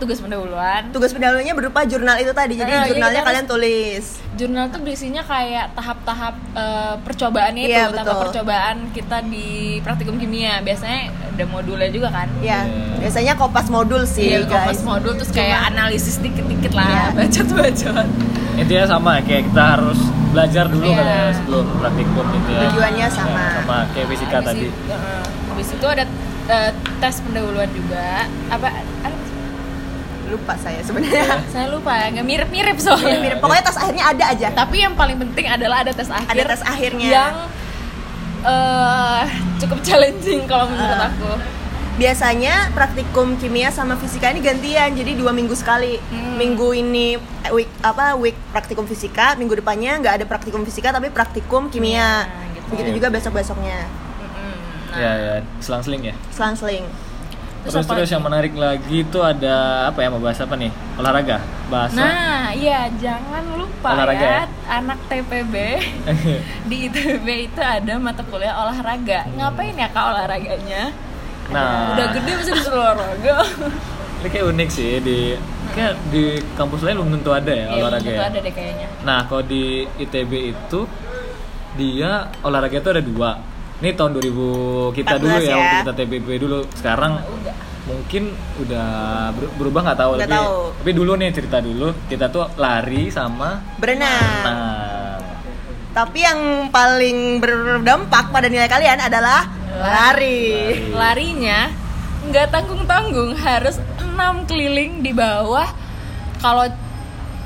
[SPEAKER 2] tugas pendahuluan.
[SPEAKER 3] Tugas pendahulunya berupa jurnal itu tadi. Jadi
[SPEAKER 2] Iya, jadi kita
[SPEAKER 3] jurnalnya
[SPEAKER 2] harus-
[SPEAKER 3] kalian tulis.
[SPEAKER 2] Jurnal tuh isinya kayak tahap-tahap eh, percobaannya
[SPEAKER 3] Iya,
[SPEAKER 2] itu,
[SPEAKER 3] betul.
[SPEAKER 2] tahap percobaan kita di praktikum kimia. Biasanya ada modulnya juga kan.
[SPEAKER 3] Ya,
[SPEAKER 1] Iya.
[SPEAKER 3] biasanya kopas modul sih,
[SPEAKER 2] Iya,
[SPEAKER 3] guys.
[SPEAKER 2] kompas modul terus kayak analisis dikit-dikit
[SPEAKER 3] Iya.
[SPEAKER 2] lah, bacot-bacot.
[SPEAKER 1] Intinya sama kayak kita harus belajar dulu
[SPEAKER 2] Iya.
[SPEAKER 1] kan ya sebelum praktikum gitu ya.
[SPEAKER 3] Tujuannya sama. Nah,
[SPEAKER 1] Ya, sama kayak fisika
[SPEAKER 2] Habis
[SPEAKER 1] tadi.
[SPEAKER 2] itu- eh, habis itu ada eh, tes pendahuluan juga. Apa? kan apa-
[SPEAKER 3] Lupa saya sebenarnya.
[SPEAKER 2] Saya lupa, nggak mirip-mirip
[SPEAKER 1] Iya,
[SPEAKER 2] soalnya.
[SPEAKER 1] mirip.
[SPEAKER 3] Pokoknya tas akhirnya ada aja.
[SPEAKER 2] Tapi yang paling penting adalah ada tes akhir.
[SPEAKER 3] Ada tes akhirnya.
[SPEAKER 2] Yang eh, cukup challenging kalau menurut
[SPEAKER 3] Eh.
[SPEAKER 2] aku.
[SPEAKER 3] Biasanya praktikum kimia sama fisika ini gantian, jadi dua minggu sekali.
[SPEAKER 2] Hmm.
[SPEAKER 3] Minggu ini eh, week apa week praktikum fisika, minggu depannya nggak ada praktikum fisika tapi praktikum kimia.
[SPEAKER 2] Nah, gitu.
[SPEAKER 3] Begitu
[SPEAKER 1] Oke.
[SPEAKER 3] juga besok besoknya
[SPEAKER 2] Mm-mm. Nah,
[SPEAKER 1] Ya, ya, Iya, selang-seling ya.
[SPEAKER 3] selang-seling.
[SPEAKER 2] Terus
[SPEAKER 1] Terus
[SPEAKER 2] apa
[SPEAKER 1] terus
[SPEAKER 2] lagi?
[SPEAKER 1] yang menarik lagi itu ada apa ya mau bahas apa nih? Olahraga, bahasa.
[SPEAKER 2] Nah, iya jangan lupa
[SPEAKER 1] Olahraga
[SPEAKER 2] ya,
[SPEAKER 1] ya?
[SPEAKER 2] anak TPB di ITB itu ada mata kuliah olahraga.
[SPEAKER 1] Hmm.
[SPEAKER 2] Ngapain ya kak olahraganya?
[SPEAKER 1] Nah.
[SPEAKER 2] Udah gede bisa disuruh olahraga.
[SPEAKER 1] Ini kayak unik sih di kayak di kampus lain belum tentu ada ya
[SPEAKER 2] Iya,
[SPEAKER 1] olahraga.
[SPEAKER 2] itu
[SPEAKER 1] ya.
[SPEAKER 2] ada deh kayaknya.
[SPEAKER 1] Nah, kalau di ITB itu dia olahraga itu ada dua. Ini tahun 2000 kita dulu ya,
[SPEAKER 3] 14 ya.
[SPEAKER 1] waktu kita TBB dulu. Sekarang
[SPEAKER 2] Udah.
[SPEAKER 1] mungkin udah ber- berubah nggak tahu
[SPEAKER 3] Nggak
[SPEAKER 1] tapi
[SPEAKER 3] tahu.
[SPEAKER 1] tapi dulu nih cerita dulu kita tuh lari sama
[SPEAKER 3] Berenang.
[SPEAKER 1] nah
[SPEAKER 3] Tapi yang paling berdampak pada nilai kalian adalah lari.
[SPEAKER 2] Larinya nggak tanggung-tanggung harus 6 keliling di bawah. Kalau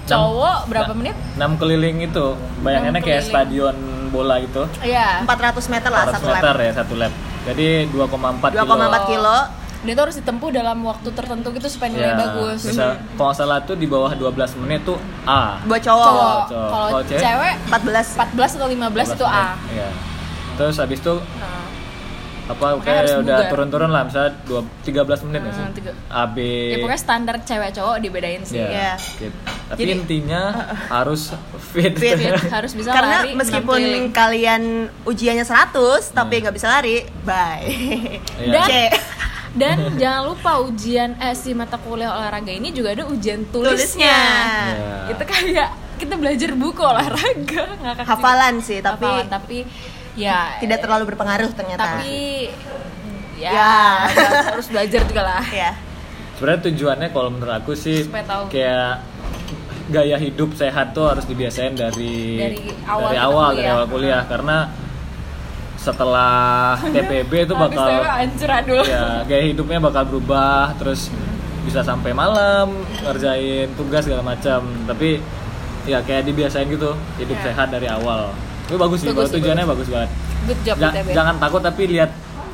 [SPEAKER 2] cowok berapa
[SPEAKER 1] Nah,
[SPEAKER 2] menit?
[SPEAKER 1] enam keliling itu bayangannya
[SPEAKER 2] Enam
[SPEAKER 1] kayak
[SPEAKER 2] keliling.
[SPEAKER 1] stadion bola gitu
[SPEAKER 2] Iya.
[SPEAKER 3] 400 meter lah
[SPEAKER 1] 400
[SPEAKER 3] satu
[SPEAKER 1] meter
[SPEAKER 3] lap.
[SPEAKER 1] ya satu lap jadi 2,4 kilo Iya.
[SPEAKER 2] Iya.
[SPEAKER 3] 2,4 kilo.
[SPEAKER 2] Dia tuh harus ditempuh dalam waktu tertentu gitu supaya nilai
[SPEAKER 1] Ya,
[SPEAKER 2] bagus.
[SPEAKER 1] misal kalau nggak salah tuh di bawah 12 menit tuh A
[SPEAKER 3] Buat cowok.
[SPEAKER 2] Cowok.
[SPEAKER 1] Cowok.
[SPEAKER 2] Kalau
[SPEAKER 1] Kalau cewek?
[SPEAKER 2] cewek
[SPEAKER 3] 14.
[SPEAKER 2] 14 atau 15 itu A.
[SPEAKER 1] menit. Iya. terus habis itu
[SPEAKER 2] Nah,
[SPEAKER 1] apa
[SPEAKER 2] Makanya harus
[SPEAKER 1] kayak udah
[SPEAKER 2] bugar.
[SPEAKER 1] turun-turun lah misal dua, 13 menit ya sih
[SPEAKER 2] Hmm, tiga-
[SPEAKER 1] A B
[SPEAKER 2] ya pokoknya standar cewek cowok dibedain sih. uh,
[SPEAKER 1] Iya.
[SPEAKER 3] Iya.
[SPEAKER 1] Gitu. Tapi
[SPEAKER 3] Jadi-
[SPEAKER 1] intinya harus fit.
[SPEAKER 3] Fit.
[SPEAKER 2] Fit, Iya, harus bisa
[SPEAKER 3] Karena
[SPEAKER 2] lari. Hmm.
[SPEAKER 3] meskipun
[SPEAKER 2] enam keliling.
[SPEAKER 3] kalian ujiannya 100 tapi nggak bisa lari, bye.
[SPEAKER 1] Iya.
[SPEAKER 2] Dan-
[SPEAKER 3] C.
[SPEAKER 2] dan jangan lupa ujian eh, si mata kuliah olahraga ini juga ada ujian tulisnya.
[SPEAKER 3] Tulisnya.
[SPEAKER 1] Iya.
[SPEAKER 2] nah, Itu kayak kita belajar buku olahraga ngakak sih.
[SPEAKER 3] Hafalan sih, tapi
[SPEAKER 2] Hafalan, tapi ya
[SPEAKER 3] tidak terlalu berpengaruh ternyata.
[SPEAKER 2] tapi ya,
[SPEAKER 3] Ya.
[SPEAKER 2] harus belajar juga lah.
[SPEAKER 3] ya.
[SPEAKER 1] Sebenarnya tujuannya kalau menurut aku sih
[SPEAKER 2] Supaya tahu.
[SPEAKER 1] kayak gaya hidup sehat tuh harus dibiasain dari
[SPEAKER 2] Dari awal
[SPEAKER 1] dari
[SPEAKER 2] kita
[SPEAKER 1] awal,
[SPEAKER 2] kuliah.
[SPEAKER 1] dari awal kuliah karena setelah TPB itu
[SPEAKER 2] Habis
[SPEAKER 1] bakal
[SPEAKER 2] cewek hancur aduh.
[SPEAKER 1] ya gaya hidupnya bakal berubah terus bisa sampai malam ngerjain tugas segala macam tapi ya kayak dibiasain gitu hidup
[SPEAKER 2] Ya.
[SPEAKER 1] sehat dari awal itu bagus sih kalau
[SPEAKER 2] Bagus sih,
[SPEAKER 1] tujuannya bagus, banget
[SPEAKER 2] Good job
[SPEAKER 1] Ja-
[SPEAKER 3] ya.
[SPEAKER 2] ITB.
[SPEAKER 1] jangan takut tapi lihat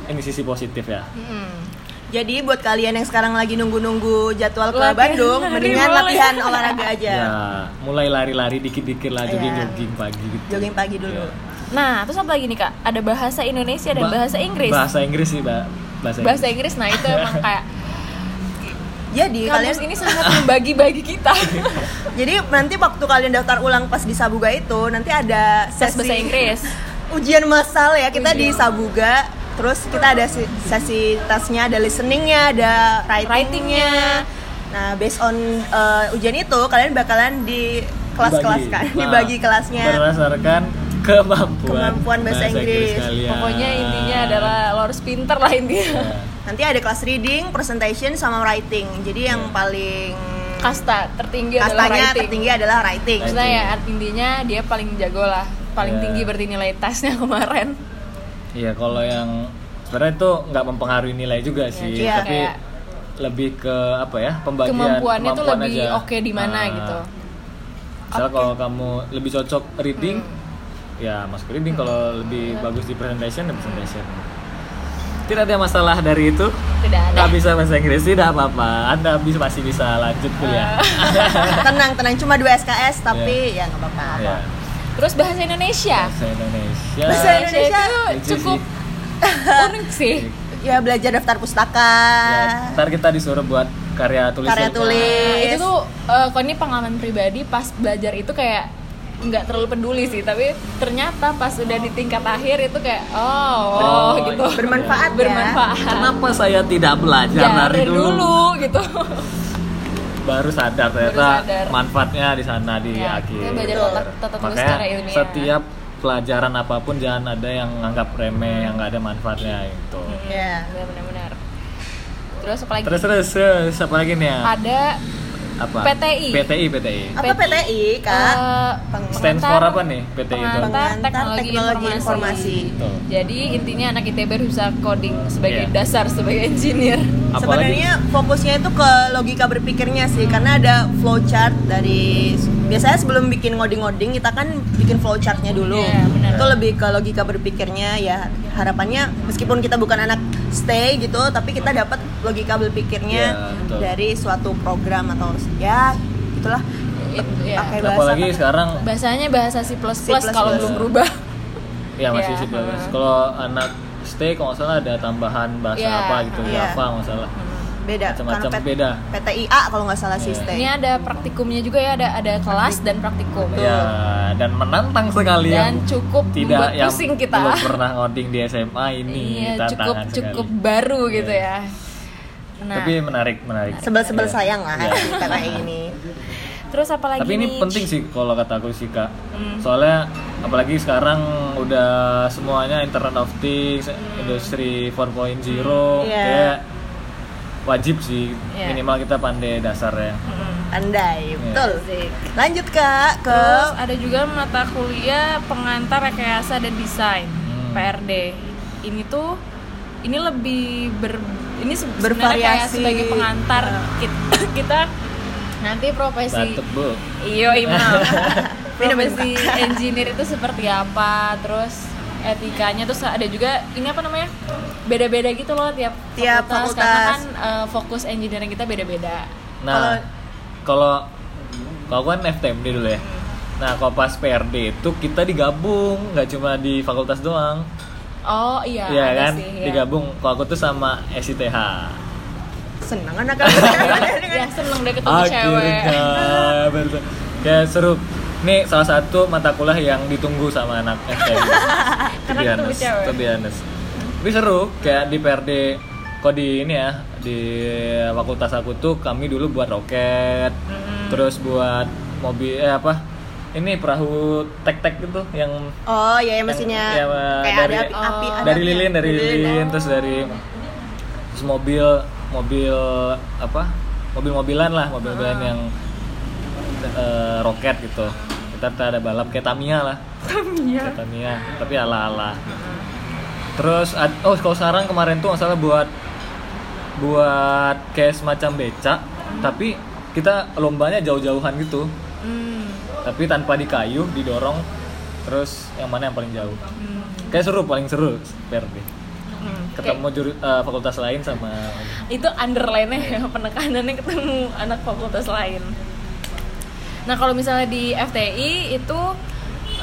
[SPEAKER 1] ini sisi positif ya
[SPEAKER 2] Mm-mm.
[SPEAKER 3] Jadi buat kalian yang sekarang lagi nunggu-nunggu jadwal ke
[SPEAKER 2] Latihan
[SPEAKER 3] Bandung,
[SPEAKER 2] lari
[SPEAKER 3] mendingan
[SPEAKER 2] boleh. Iya.
[SPEAKER 3] latihan olahraga aja.
[SPEAKER 1] ya mulai lari-lari dikit-dikit lah
[SPEAKER 3] Iya.
[SPEAKER 1] jogging jogging pagi gitu
[SPEAKER 3] Jogging pagi dulu.
[SPEAKER 1] Iya.
[SPEAKER 2] Nah, terus apa lagi nih Kak? Ada bahasa Indonesia dan
[SPEAKER 1] Ba-
[SPEAKER 2] bahasa Inggris.
[SPEAKER 1] bahasa Inggris sih Mbak. bahasa Inggris,
[SPEAKER 2] bahasa Inggris nah itu emang kayak
[SPEAKER 3] Jadi
[SPEAKER 2] kampus
[SPEAKER 3] Iya, kalian Iya
[SPEAKER 2] ini sangat membagi-bagi kita
[SPEAKER 3] jadi nanti waktu kalian daftar ulang pas di Sabuga itu nanti ada
[SPEAKER 2] tes
[SPEAKER 3] sesi
[SPEAKER 2] bahasa Inggris
[SPEAKER 3] ujian massal ya kita di
[SPEAKER 2] Ujian.
[SPEAKER 3] Sabuga terus kita ada se- sesi tesnya ada listeningnya ada writingnya nah based on uh, ujian itu kalian bakalan di kelas-kelas kan
[SPEAKER 1] Nah,
[SPEAKER 3] dibagi kelasnya
[SPEAKER 1] berdasarkan kemampuan
[SPEAKER 3] Kemampuan bahasa Inggris.
[SPEAKER 1] kalian.
[SPEAKER 2] pokoknya intinya adalah lo harus pinter lah intinya
[SPEAKER 1] Ya.
[SPEAKER 3] nanti ada kelas reading presentation sama writing jadi yang paling
[SPEAKER 2] kasta tertinggi adalah
[SPEAKER 3] kastanya
[SPEAKER 2] writing
[SPEAKER 3] tertinggi adalah writing
[SPEAKER 2] maksudnya ya art- intinya dia paling jago lah paling
[SPEAKER 1] Ya.
[SPEAKER 2] tinggi berarti nilai tesnya kemarin
[SPEAKER 1] Iya kalau yang sebenarnya itu nggak mempengaruhi nilai juga sih,
[SPEAKER 3] iya.
[SPEAKER 1] tapi
[SPEAKER 2] Kayak-
[SPEAKER 1] lebih ke apa ya pembagian
[SPEAKER 2] kemampuannya tuh
[SPEAKER 1] kemampuan
[SPEAKER 2] lebih
[SPEAKER 1] aja.
[SPEAKER 2] oke di mana
[SPEAKER 1] Nah,
[SPEAKER 2] gitu
[SPEAKER 1] Misalnya kalau kamu lebih cocok reading,
[SPEAKER 2] Hmm.
[SPEAKER 1] ya masuk reading. Kalau lebih
[SPEAKER 2] Iya.
[SPEAKER 1] bagus di presentation, ya presentation. Tidak ada masalah dari itu.
[SPEAKER 2] tidak ada
[SPEAKER 1] Nggak bisa bahasa Inggris tidak apa-apa. Anda bisa masih bisa lanjut kuliah.
[SPEAKER 2] Eh,
[SPEAKER 3] tenang tenang cuma dua SKS tapi ya nggak apa-apa
[SPEAKER 1] Ya,
[SPEAKER 2] terus bahasa Indonesia
[SPEAKER 1] Bahasa Indonesia.
[SPEAKER 3] Bahasa Indonesia
[SPEAKER 2] itu
[SPEAKER 1] lucu
[SPEAKER 2] cukup
[SPEAKER 1] sih.
[SPEAKER 2] unik sih
[SPEAKER 3] ya belajar daftar pustaka
[SPEAKER 1] Ya, ntar kita disuruh buat karya tulis.
[SPEAKER 3] Karya
[SPEAKER 1] dari-
[SPEAKER 3] tulis.
[SPEAKER 2] Nah, itu tuh eh, kalau ini pengalaman pribadi pas belajar itu kayak nggak terlalu peduli sih tapi ternyata pas udah di tingkat akhir itu kayak oh, oh,
[SPEAKER 1] Oh,
[SPEAKER 2] gitu
[SPEAKER 3] bermanfaat ya.
[SPEAKER 2] bermanfaat Iya,
[SPEAKER 1] Kenapa saya tidak belajar dari
[SPEAKER 2] dari
[SPEAKER 1] dulu?
[SPEAKER 2] gitu
[SPEAKER 1] Baru sadar ternyata
[SPEAKER 2] sadar.
[SPEAKER 1] manfaatnya di sana di
[SPEAKER 2] Ya,
[SPEAKER 1] akhir.
[SPEAKER 2] kita belajar otak- tata tulis
[SPEAKER 1] Makanya
[SPEAKER 2] secara ilmiah.
[SPEAKER 1] setiap pelajaran apapun jangan ada yang nganggap
[SPEAKER 2] Hmm.
[SPEAKER 1] remeh yang nggak ada manfaatnya gitu.
[SPEAKER 3] Iya.
[SPEAKER 2] Bener, benar-benar terus apa lagi
[SPEAKER 1] Terus terus, terus apa lagi nih ya?
[SPEAKER 2] ada
[SPEAKER 1] Apa?
[SPEAKER 2] PTI.
[SPEAKER 1] PTI PTI.
[SPEAKER 3] apa PTI kak
[SPEAKER 2] eh,
[SPEAKER 3] Peng-
[SPEAKER 1] Stand
[SPEAKER 2] pengantar-
[SPEAKER 1] for apa nih PTI itu?
[SPEAKER 2] pengantar
[SPEAKER 3] Pengantar
[SPEAKER 2] teknologi,
[SPEAKER 3] teknologi
[SPEAKER 2] informasi.
[SPEAKER 3] informasi.
[SPEAKER 1] Betul.
[SPEAKER 2] Jadi intinya anak ITB harus bisa coding sebagai
[SPEAKER 1] Iya.
[SPEAKER 2] dasar sebagai engineer.
[SPEAKER 1] Apalagi
[SPEAKER 3] Sebenarnya fokusnya itu ke logika berpikirnya sih, karena ada flowchart dari biasanya sebelum bikin ngoding-ngoding kita kan bikin flowchartnya dulu.
[SPEAKER 2] Iya, benar.
[SPEAKER 3] itu lebih ke logika berpikirnya ya harapannya meskipun kita bukan anak stay gitu, tapi kita dapat logika berpikirnya
[SPEAKER 1] Iya, betul.
[SPEAKER 3] dari suatu program atau ya itulah.
[SPEAKER 2] Itu, ya.
[SPEAKER 3] Pakai bahasa
[SPEAKER 1] apalagi
[SPEAKER 3] apa?
[SPEAKER 1] sekarang
[SPEAKER 2] Bahasanya bahasa C++,
[SPEAKER 3] C++.
[SPEAKER 2] kalau belum berubah.
[SPEAKER 1] ya masih
[SPEAKER 2] Ya,
[SPEAKER 1] sih bagus.
[SPEAKER 2] heeh.
[SPEAKER 1] Kalau anak stay kalau nggak salah ada tambahan bahasa
[SPEAKER 2] Ya,
[SPEAKER 1] apa gitu,
[SPEAKER 3] iya.
[SPEAKER 1] apa nggak salah.
[SPEAKER 3] beda
[SPEAKER 1] Macam-macam
[SPEAKER 3] Karena P-
[SPEAKER 1] beda.
[SPEAKER 3] PTIA kalau nggak salah sih
[SPEAKER 1] Iya.
[SPEAKER 3] Stay.
[SPEAKER 2] Ini ada praktikumnya juga ya, ada ada kelas dan praktikum.
[SPEAKER 1] Ya, dan menantang sekali
[SPEAKER 2] Dan
[SPEAKER 1] yang
[SPEAKER 2] cukup
[SPEAKER 1] tidak
[SPEAKER 2] membuat
[SPEAKER 1] yang
[SPEAKER 2] pusing kita.
[SPEAKER 1] belum pernah ngoding di SMA ini
[SPEAKER 2] Iya, cukup
[SPEAKER 1] tantangan
[SPEAKER 2] cukup
[SPEAKER 1] sekali.
[SPEAKER 2] baru gitu
[SPEAKER 1] Iya.
[SPEAKER 2] ya. Nah,
[SPEAKER 1] Tapi menarik, menarik.
[SPEAKER 3] sebel-sebel
[SPEAKER 1] Iya.
[SPEAKER 3] sayang lah
[SPEAKER 1] Iya.
[SPEAKER 3] kita kayak ini
[SPEAKER 2] terus apa lagi
[SPEAKER 1] Tapi ini
[SPEAKER 2] nih? Hmm.
[SPEAKER 1] penting sih kalau kata aku sih kak. Soalnya apalagi sekarang udah semuanya Internet of Things, industri 4.0,
[SPEAKER 3] Iya.
[SPEAKER 1] kayak wajib sih
[SPEAKER 2] Iya.
[SPEAKER 1] minimal kita pandai dasarnya. Iya.
[SPEAKER 3] andai betul
[SPEAKER 2] Asik.
[SPEAKER 3] lanjut kak ke
[SPEAKER 2] Terus ada juga mata kuliah pengantar rekayasa dan desain
[SPEAKER 1] Hmm.
[SPEAKER 2] PRD. Ini tuh ini lebih ber ini se- sebenarnya kayak
[SPEAKER 3] Bervariasi. Nah.
[SPEAKER 2] sebagai pengantar kita, kita nanti profesi
[SPEAKER 1] Batuk bu.
[SPEAKER 2] iyo imam
[SPEAKER 3] Minum, minum,
[SPEAKER 2] profesi engineer itu seperti apa terus etikanya terus ada juga ini apa namanya beda-beda gitu loh tiap
[SPEAKER 3] Tiap
[SPEAKER 2] karena
[SPEAKER 3] fakultas.
[SPEAKER 2] kan eh, fokus engineering kita beda-beda
[SPEAKER 1] Nah, kalau kalau kan FTMD dulu ya. Nah, kalau pas PRD itu kita digabung, nggak cuma di fakultas doang.
[SPEAKER 2] oh iya
[SPEAKER 1] Iya
[SPEAKER 2] ada
[SPEAKER 1] kan?
[SPEAKER 2] sih, iya.
[SPEAKER 1] Digabung. Kalau aku tuh sama SITH.
[SPEAKER 3] senang Iya. kan kak
[SPEAKER 2] ya seneng deh ketemu cewek
[SPEAKER 1] betul. Ya seru. Ini salah satu mata kuliah yang ditunggu sama anak FTMD.
[SPEAKER 2] Karena ketemu cewek.
[SPEAKER 1] Tobianes. Tapi seru kayak di PRD kok di ini ya di fakultas aku tuh kami dulu buat roket,
[SPEAKER 2] Hmm.
[SPEAKER 1] terus buat mobil eh apa? Ini perahu tek-tek gitu yang
[SPEAKER 3] oh iya ya mestinya
[SPEAKER 1] Yang- iya,
[SPEAKER 3] kayak
[SPEAKER 1] dari-
[SPEAKER 3] ada api,
[SPEAKER 2] oh.
[SPEAKER 3] api ada ya.
[SPEAKER 1] dari
[SPEAKER 3] api-
[SPEAKER 1] lilin dari lilin terus dari terus mobil mobil apa mobil-mobilan lah mobil-mobilan
[SPEAKER 3] Ah.
[SPEAKER 1] yang eh, roket gitu kita tuh ada balap kayak Tamiya lah
[SPEAKER 2] Tamiya.
[SPEAKER 1] Kayak Tamiya tapi ala-ala terus ad- oh kalau sekarang kemarin tuh masalah buat buat kayak semacam becak tapi kita lombanya jauh-jauhan gitu
[SPEAKER 2] Hmm,
[SPEAKER 1] tapi tanpa dikayu didorong terus yang mana yang paling jauh kayak seru paling seru PRD
[SPEAKER 2] hmm.
[SPEAKER 1] ketemu juru- eh, fakultas lain sama
[SPEAKER 2] Kayak itu underline-nya ya, penekanannya ketemu anak fakultas lain. Nah, kalau misalnya di FTI itu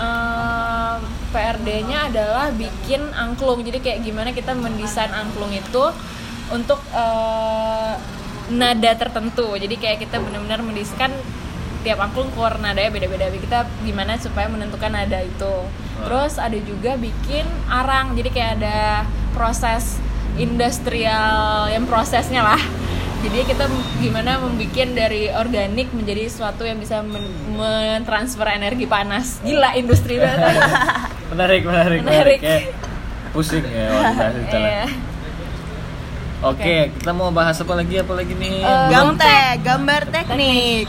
[SPEAKER 2] eh, PRD-nya adalah bikin angklung. Jadi kayak gimana kita mendesain angklung itu untuk eh, nada tertentu. Jadi kayak kita benar-benar mendesain tiap angklung keluar nadanya beda-beda. Kita gimana supaya menentukan nada itu. Terus ada juga bikin arang. Jadi kayak ada proses industrial yang prosesnya lah. Jadi kita gimana membuat dari organik menjadi sesuatu yang bisa men- mentransfer energi panas. Gila industri banget.
[SPEAKER 1] menarik menarik
[SPEAKER 2] Menarik.
[SPEAKER 1] Kayak pusing ya waktu kita lah.
[SPEAKER 2] Iya.
[SPEAKER 1] oke kita mau bahas apa lagi apa lagi nih
[SPEAKER 2] Eh,
[SPEAKER 3] gambar gambar teknik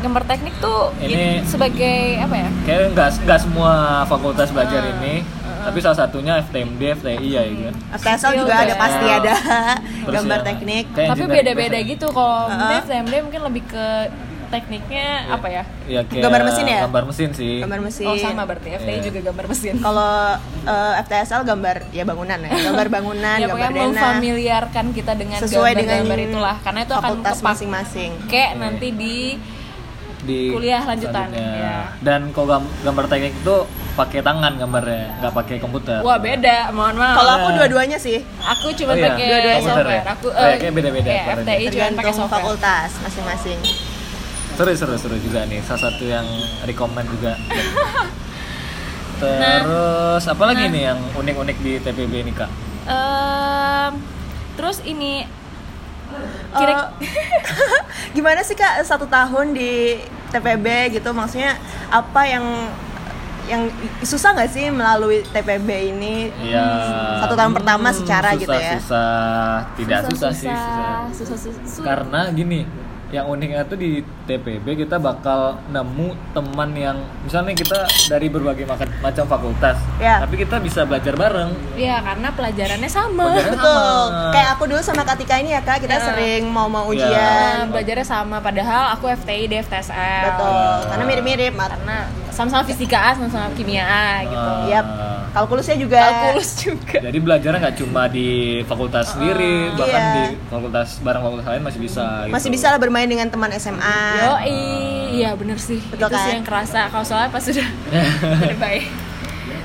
[SPEAKER 2] Gambar teknik tuh
[SPEAKER 1] Ini-
[SPEAKER 2] gini, sebagai apa ya?
[SPEAKER 1] kayak nggak nggak semua fakultas belajar
[SPEAKER 2] Eh,
[SPEAKER 1] ini tapi salah satunya FTMD FTI ya gitu kan
[SPEAKER 2] Hmm.
[SPEAKER 3] Tesel
[SPEAKER 2] Skill
[SPEAKER 3] juga ada
[SPEAKER 2] ya.
[SPEAKER 3] pasti ada
[SPEAKER 1] Iya. Terus
[SPEAKER 3] gambar
[SPEAKER 1] ya,
[SPEAKER 3] teknik
[SPEAKER 1] kayak
[SPEAKER 2] Tapi
[SPEAKER 1] engineering
[SPEAKER 2] beda-beda
[SPEAKER 1] biasa.
[SPEAKER 2] gitu kalau
[SPEAKER 3] Uh-uh.
[SPEAKER 2] uh mungkin lebih ke tekniknya apa ya?
[SPEAKER 1] ya kayak
[SPEAKER 3] Gambar mesin ya?
[SPEAKER 1] gambar mesin sih
[SPEAKER 3] gambar mesin
[SPEAKER 2] Oh sama berarti FTI
[SPEAKER 1] Iya.
[SPEAKER 2] juga gambar mesin.
[SPEAKER 3] kalau eh, FTSL gambar ya bangunan ya gambar bangunan
[SPEAKER 2] ya
[SPEAKER 3] gambar
[SPEAKER 2] pokoknya
[SPEAKER 3] denah
[SPEAKER 2] memfamiliarkan kita dengan
[SPEAKER 3] sesuai dengan
[SPEAKER 2] gambar-gambar itulah karena itu akan
[SPEAKER 3] fakultas
[SPEAKER 2] kepake
[SPEAKER 3] masing-masing
[SPEAKER 2] nanti di
[SPEAKER 1] di
[SPEAKER 2] Kuliah lanjutan,
[SPEAKER 1] selanjutnya.
[SPEAKER 2] ya.
[SPEAKER 1] dan kalau gam- gambar teknik itu pakai tangan gambarnya nggak pakai komputer
[SPEAKER 2] Wah beda, mohon maaf.
[SPEAKER 3] kalau aku dua-duanya sih
[SPEAKER 2] aku
[SPEAKER 1] Oh
[SPEAKER 2] cuma
[SPEAKER 1] iya,
[SPEAKER 2] pakai
[SPEAKER 1] dua-duanya
[SPEAKER 2] software.
[SPEAKER 1] komputer ya?
[SPEAKER 2] Aku
[SPEAKER 1] Oh iya,
[SPEAKER 2] eh,
[SPEAKER 1] kayak beda-beda
[SPEAKER 2] iya,
[SPEAKER 1] software.
[SPEAKER 2] FTI cuma pakai
[SPEAKER 3] tergantung
[SPEAKER 2] software.
[SPEAKER 3] fakultas masing-masing
[SPEAKER 1] seru seru seru juga nih salah satu yang rekomend juga Nah, terus apa lagi nih yang unik unik di TPB ini kak
[SPEAKER 2] Ehm, terus ini kira
[SPEAKER 3] Eh, gimana sih kak satu tahun di TPB gitu maksudnya apa yang yang susah nggak sih melalui TPB ini
[SPEAKER 1] Iya.
[SPEAKER 3] satu tahun pertama
[SPEAKER 1] Hmm,
[SPEAKER 3] secara
[SPEAKER 1] susah,
[SPEAKER 3] gitu ya
[SPEAKER 1] susah tidak susah, sih susah.
[SPEAKER 2] susah, susah, susah, susah.
[SPEAKER 1] karena gini yang uniknya tuh di TPB kita bakal nemu teman yang misalnya kita dari berbagai maka- macam fakultas
[SPEAKER 3] Ya.
[SPEAKER 1] tapi kita bisa belajar bareng
[SPEAKER 2] Ya karena pelajarannya sama.
[SPEAKER 1] Pelajaran-
[SPEAKER 3] betul
[SPEAKER 1] Sama.
[SPEAKER 3] kayak aku dulu sama Katika ini ya kak kita sering mau
[SPEAKER 1] Iya.
[SPEAKER 2] Nah,
[SPEAKER 3] mau ujian
[SPEAKER 2] belajarnya sama. Padahal aku FTI, dia FTSL.
[SPEAKER 3] betul karena mirip-mirip mat-
[SPEAKER 2] Iya. Karena sama-sama fisika A, sama-sama kimia A gitu.
[SPEAKER 1] Ah,
[SPEAKER 3] Yap. kalkulusnya juga
[SPEAKER 2] Kalkulus juga.
[SPEAKER 1] jadi belajarnya nggak cuma di fakultas sendiri
[SPEAKER 2] Oh,
[SPEAKER 1] bahkan
[SPEAKER 3] Iya.
[SPEAKER 1] di fakultas bareng fakultas lain masih bisa gitu.
[SPEAKER 3] masih bisa lah bermain dengan teman SMA
[SPEAKER 2] Yoi, iya bener sih.
[SPEAKER 3] Ah. Betul
[SPEAKER 2] itu sih
[SPEAKER 3] kan?
[SPEAKER 2] yang kerasa. Kalau soalnya pas sudah berbaik.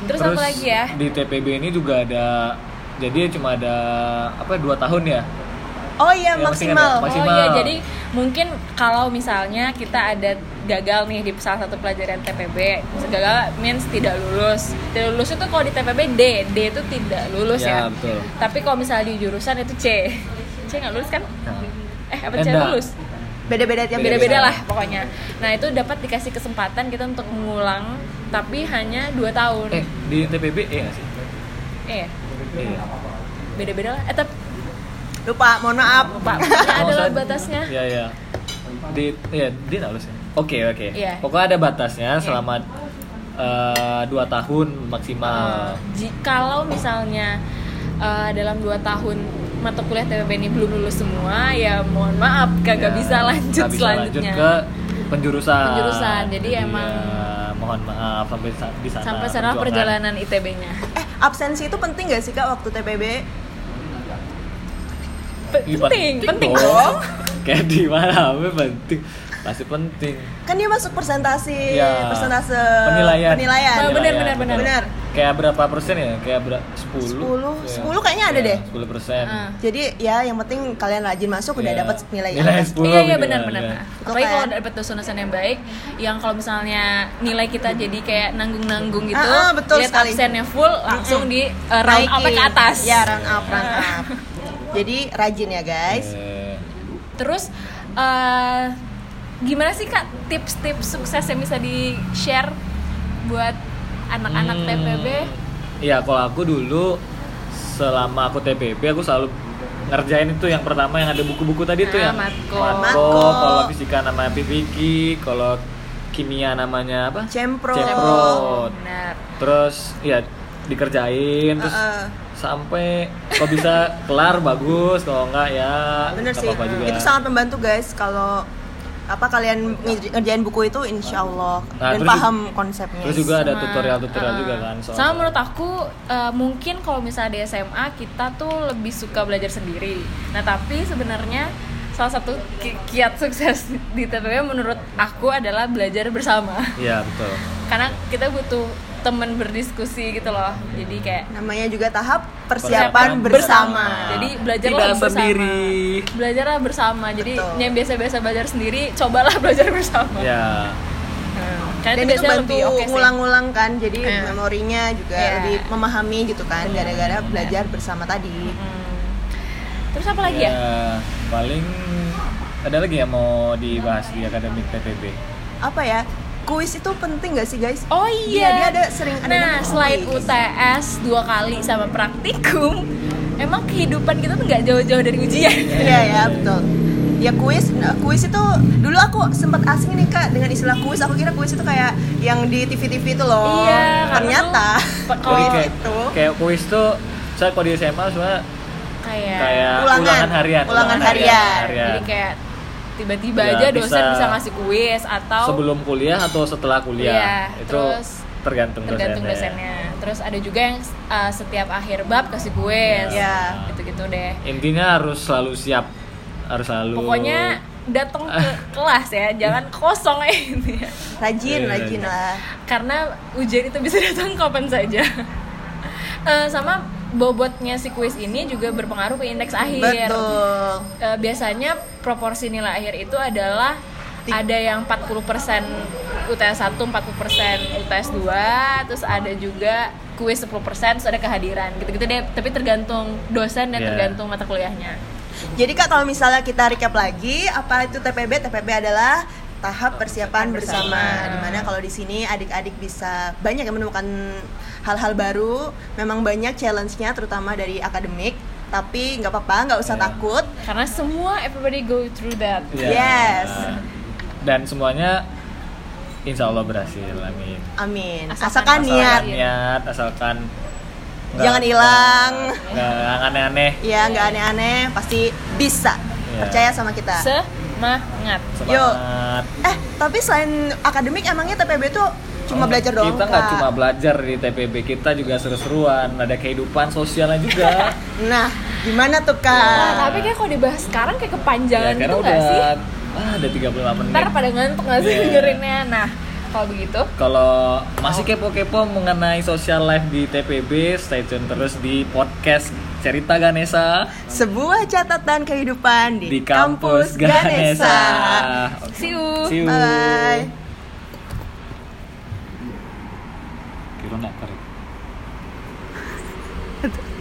[SPEAKER 2] Terus, apa lagi ya?
[SPEAKER 1] Di TPB ini juga ada jadi cuma ada apa dua tahun ya.
[SPEAKER 3] Oh iya,
[SPEAKER 1] Yang penting
[SPEAKER 3] maksimal.
[SPEAKER 1] ada maksimal.
[SPEAKER 2] Oh iya, jadi mungkin kalau misalnya kita ada gagal nih di salah satu pelajaran TPB, gagal means tidak lulus. Tidak lulus itu kalau di TPB D, D itu tidak lulus
[SPEAKER 1] Ya,
[SPEAKER 2] ya.
[SPEAKER 1] betul.
[SPEAKER 2] Tapi kalau misalnya di jurusan itu C, C nggak lulus kan?
[SPEAKER 1] Nah.
[SPEAKER 2] Eh apa
[SPEAKER 1] Eh,
[SPEAKER 2] C
[SPEAKER 1] enggak.
[SPEAKER 2] lulus?
[SPEAKER 3] Beda-beda tiap
[SPEAKER 2] yang beda-beda lah pokoknya. Nah itu dapat dikasih kesempatan kita untuk mengulang, tapi hanya dua tahun.
[SPEAKER 1] Eh, di TPB E nggak sih?
[SPEAKER 2] Eh,
[SPEAKER 1] E.
[SPEAKER 2] beda-beda lah. Eh tapi
[SPEAKER 3] Lupa, mohon maaf.
[SPEAKER 2] pak, pokoknya
[SPEAKER 1] Oh,
[SPEAKER 2] ada lah
[SPEAKER 1] saya-
[SPEAKER 2] batasnya.
[SPEAKER 1] Iya, iya. Di ya, dia nggak lulus ya? Oke, oke.
[SPEAKER 2] Iya.
[SPEAKER 1] Pokoknya ada batasnya
[SPEAKER 2] Iya.
[SPEAKER 1] selama eh, dua tahun maksimal.
[SPEAKER 2] Oh. Jikalau Eh, misalnya eh, dalam 2 tahun mata kuliah TPB ini belum lulus semua, ya mohon maaf
[SPEAKER 1] Ya,
[SPEAKER 2] kagak bisa lanjut
[SPEAKER 1] nggak bisa
[SPEAKER 2] selanjutnya.
[SPEAKER 1] lanjut ke penjurusan.
[SPEAKER 2] Penjurusan, jadi
[SPEAKER 1] Itu
[SPEAKER 2] emang-
[SPEAKER 1] dia. mohon maaf sampai sa- di sana.
[SPEAKER 2] Sampai sana
[SPEAKER 1] perjuangan.
[SPEAKER 2] perjalanan ITB-nya.
[SPEAKER 3] Eh, absensi itu penting gak sih kak waktu TPB?
[SPEAKER 1] Ih, Iya,
[SPEAKER 2] Penting, penting dong.
[SPEAKER 1] Oh. Kayak di mana? apa penting. Pasti penting.
[SPEAKER 3] Kan dia masuk presentasi,
[SPEAKER 1] Ya.
[SPEAKER 3] persentase
[SPEAKER 1] penilaian.
[SPEAKER 3] Eh, penilaian.
[SPEAKER 2] Oh, bener, bener, bener.
[SPEAKER 3] Bener.
[SPEAKER 1] Kayak berapa persen ya? Kayak ber 10.
[SPEAKER 3] 10,
[SPEAKER 1] Ya.
[SPEAKER 3] 10 kayaknya ada
[SPEAKER 1] Ya,
[SPEAKER 3] deh.
[SPEAKER 1] 10 persen.
[SPEAKER 2] Ah.
[SPEAKER 3] Jadi ya yang penting kalian rajin masuk udah
[SPEAKER 1] Ya.
[SPEAKER 3] dapat nilai.
[SPEAKER 1] Nilai
[SPEAKER 3] atas.
[SPEAKER 1] 10.
[SPEAKER 2] iya iya
[SPEAKER 1] gitu
[SPEAKER 2] benar
[SPEAKER 1] kan,
[SPEAKER 2] benar.
[SPEAKER 1] ya.
[SPEAKER 2] benar. Apalagi
[SPEAKER 3] Oke.
[SPEAKER 2] kalau dapet dosen-dosen yang baik, yang kalau misalnya nilai kita jadi kayak nanggung-nanggung gitu,
[SPEAKER 3] Ah, ah, betul
[SPEAKER 2] lihat
[SPEAKER 3] sekali.
[SPEAKER 2] absennya full, langsung di eh, round up
[SPEAKER 3] Naikin.
[SPEAKER 2] ke atas.
[SPEAKER 3] Ya round up, round up. Jadi rajin ya guys.
[SPEAKER 1] Eh,
[SPEAKER 2] Terus eh, gimana sih kak tips-tips sukses yang bisa di share buat anak-anak
[SPEAKER 1] hmm,
[SPEAKER 2] TPB?
[SPEAKER 1] Iya, kalau aku dulu selama aku TPB aku selalu ngerjain itu yang pertama yang ada buku-buku tadi tuh
[SPEAKER 2] Ah,
[SPEAKER 1] yang
[SPEAKER 2] matko.
[SPEAKER 1] matko,
[SPEAKER 3] Matko.
[SPEAKER 1] kalau fisika namanya PPG, kalau kimia namanya apa?
[SPEAKER 3] Cempro.
[SPEAKER 1] Cempro.
[SPEAKER 2] Benar.
[SPEAKER 1] terus ya dikerjain terus
[SPEAKER 3] Heeh.
[SPEAKER 1] sampai kalau bisa kelar bagus kalau enggak ya
[SPEAKER 3] Bener
[SPEAKER 1] nggak
[SPEAKER 3] sih.
[SPEAKER 1] apa-apa juga.
[SPEAKER 3] Itu sangat membantu guys kalau apa kalian ngerj- ngerjain buku itu insya Allah
[SPEAKER 1] Nah,
[SPEAKER 3] dan
[SPEAKER 1] terus-
[SPEAKER 3] paham konsepnya.
[SPEAKER 1] terus juga ada
[SPEAKER 2] Sama,
[SPEAKER 1] tutorial-tutorial
[SPEAKER 2] uh,
[SPEAKER 1] juga kan soal
[SPEAKER 2] Sama menurut aku uh, mungkin kalau misalnya di SMA kita tuh lebih suka belajar sendiri. Nah tapi sebenarnya salah satu ki- kiat sukses di TPB menurut aku adalah belajar bersama.
[SPEAKER 1] iya betul
[SPEAKER 2] Karena kita butuh temen berdiskusi gitu loh. Jadi kayak
[SPEAKER 3] namanya juga tahap
[SPEAKER 1] Persiapan
[SPEAKER 3] persiapan bersama.
[SPEAKER 1] bersama.
[SPEAKER 2] Jadi belajarlah
[SPEAKER 1] Tidak
[SPEAKER 2] bersama.
[SPEAKER 1] sendiri.
[SPEAKER 2] Belajarlah bersama. Jadi
[SPEAKER 3] Betul.
[SPEAKER 2] yang biasa-biasa belajar sendiri, cobalah belajar bersama.
[SPEAKER 1] ya
[SPEAKER 2] Hmm. Karena
[SPEAKER 3] Dan
[SPEAKER 2] itu
[SPEAKER 3] itu
[SPEAKER 2] biasanya
[SPEAKER 3] bantu
[SPEAKER 2] lebih oke sih.
[SPEAKER 3] ngulang-ngulang kan, jadi
[SPEAKER 2] Iya.
[SPEAKER 3] memorinya juga
[SPEAKER 2] Iya.
[SPEAKER 3] lebih memahami gitu kan, gara-gara belajar bersama tadi.
[SPEAKER 2] Hmm. Terus apa lagi
[SPEAKER 1] Iya.
[SPEAKER 2] ya?
[SPEAKER 1] paling ada lagi yang mau dibahas di akademik PTB
[SPEAKER 3] Apa ya, kuis itu penting gak sih guys?
[SPEAKER 2] Oh iya.
[SPEAKER 3] Dia- dia ada sering ada
[SPEAKER 2] Nah,
[SPEAKER 3] namanya
[SPEAKER 2] selain
[SPEAKER 3] kuis.
[SPEAKER 2] UTS dua kali sama praktikum, emang kehidupan kita tuh nggak jauh-jauh dari ujian.
[SPEAKER 3] Iya ya betul. Ya kuis, nah, kuis itu dulu aku sempat asing nih kak dengan istilah kuis. Aku kira kuis itu kayak yang di TV-TV itu loh.
[SPEAKER 2] Iya, karena
[SPEAKER 3] Ternyata
[SPEAKER 2] tuh pe-
[SPEAKER 1] jadi
[SPEAKER 2] kalau
[SPEAKER 1] kayak
[SPEAKER 3] itu.
[SPEAKER 1] kayak kuis tuh saya kalau di SMA sebenarnya
[SPEAKER 2] kayak,
[SPEAKER 1] kayak
[SPEAKER 3] Ulangan.
[SPEAKER 1] ulangan, harian
[SPEAKER 3] Ulangan harian.
[SPEAKER 2] jadi kayak tiba-tiba
[SPEAKER 1] Ya,
[SPEAKER 2] aja dosen
[SPEAKER 1] bisa.
[SPEAKER 2] bisa. ngasih kuis atau
[SPEAKER 1] sebelum kuliah atau setelah kuliah
[SPEAKER 2] Iya,
[SPEAKER 1] itu
[SPEAKER 2] terus
[SPEAKER 1] tergantung,
[SPEAKER 2] tergantung dosennya. Terus ada juga yang uh, setiap akhir bab kasih kuis.
[SPEAKER 3] Iya.
[SPEAKER 2] Gitu-gitu deh.
[SPEAKER 1] intinya harus selalu siap harus selalu
[SPEAKER 2] Pokoknya datang ke kelas ya, jangan kosong aja gitu ya.
[SPEAKER 3] Rajin,
[SPEAKER 1] Iya,
[SPEAKER 3] rajin
[SPEAKER 1] iya.
[SPEAKER 3] lah.
[SPEAKER 2] Karena ujian itu bisa datang kapan saja. Eh, sama bobotnya si kuis ini juga berpengaruh ke indeks akhir.
[SPEAKER 3] Betul.
[SPEAKER 2] Eh, biasanya proporsi nilai akhir itu adalah
[SPEAKER 3] Ti-
[SPEAKER 2] ada yang 40% UTS 1, 40% UTS 2, terus ada juga kuis 10%, terus ada kehadiran. Gitu-gitu deh, tapi tergantung dosen dan
[SPEAKER 1] Iya.
[SPEAKER 2] tergantung mata kuliahnya.
[SPEAKER 3] Jadi kak kalau misalnya kita recap lagi, apa itu TPB? TPB adalah tahap persiapan bersama.
[SPEAKER 2] bersama.
[SPEAKER 3] Dimana kalau di sini adik-adik bisa banyak yang menemukan hal-hal baru. Memang banyak challenge-nya, terutama dari akademik. Tapi nggak apa-apa, nggak usah
[SPEAKER 1] Iya.
[SPEAKER 3] takut.
[SPEAKER 2] Karena semua everybody go through that.
[SPEAKER 1] Iya.
[SPEAKER 3] Yes.
[SPEAKER 1] dan semuanya insya Allah berhasil amin
[SPEAKER 3] Amin. Asalkan,
[SPEAKER 2] Asalkan
[SPEAKER 3] niat.
[SPEAKER 1] asalkan niat asalkan nggak-
[SPEAKER 3] Jangan hilang.
[SPEAKER 1] nggak nggak aneh-aneh
[SPEAKER 3] Ya nggak aneh-aneh, pasti bisa.
[SPEAKER 1] Iya.
[SPEAKER 3] Percaya sama kita.
[SPEAKER 2] Semangat.
[SPEAKER 3] Yuk.
[SPEAKER 1] semangat
[SPEAKER 3] eh tapi selain akademik emangnya TPB tuh cuma belajar doang
[SPEAKER 1] kita nggak
[SPEAKER 3] Kak?
[SPEAKER 1] cuma belajar di TPB kita juga seru-seruan ada kehidupan sosialnya juga
[SPEAKER 3] Nah, gimana tuh
[SPEAKER 2] Wah,
[SPEAKER 3] kak?
[SPEAKER 2] Nah, tapi kayak kalau dibahas sekarang kayak kepanjangan
[SPEAKER 1] Ya, karena
[SPEAKER 2] gitu
[SPEAKER 1] udah
[SPEAKER 2] gak sih?
[SPEAKER 1] ah, ada 35 menit
[SPEAKER 2] Ntar pada ngantuk gak sih
[SPEAKER 1] Iya.
[SPEAKER 2] dengerinnya? Nah, kalau begitu
[SPEAKER 1] Kalau masih kepo-kepo mengenai social life di TPB, stay tune terus di podcast cerita Ganesa
[SPEAKER 3] Sebuah catatan kehidupan di,
[SPEAKER 1] di kampus Ganesa. Oke.
[SPEAKER 2] See you.
[SPEAKER 1] See you.
[SPEAKER 3] Bye.
[SPEAKER 1] Kira nak tarik.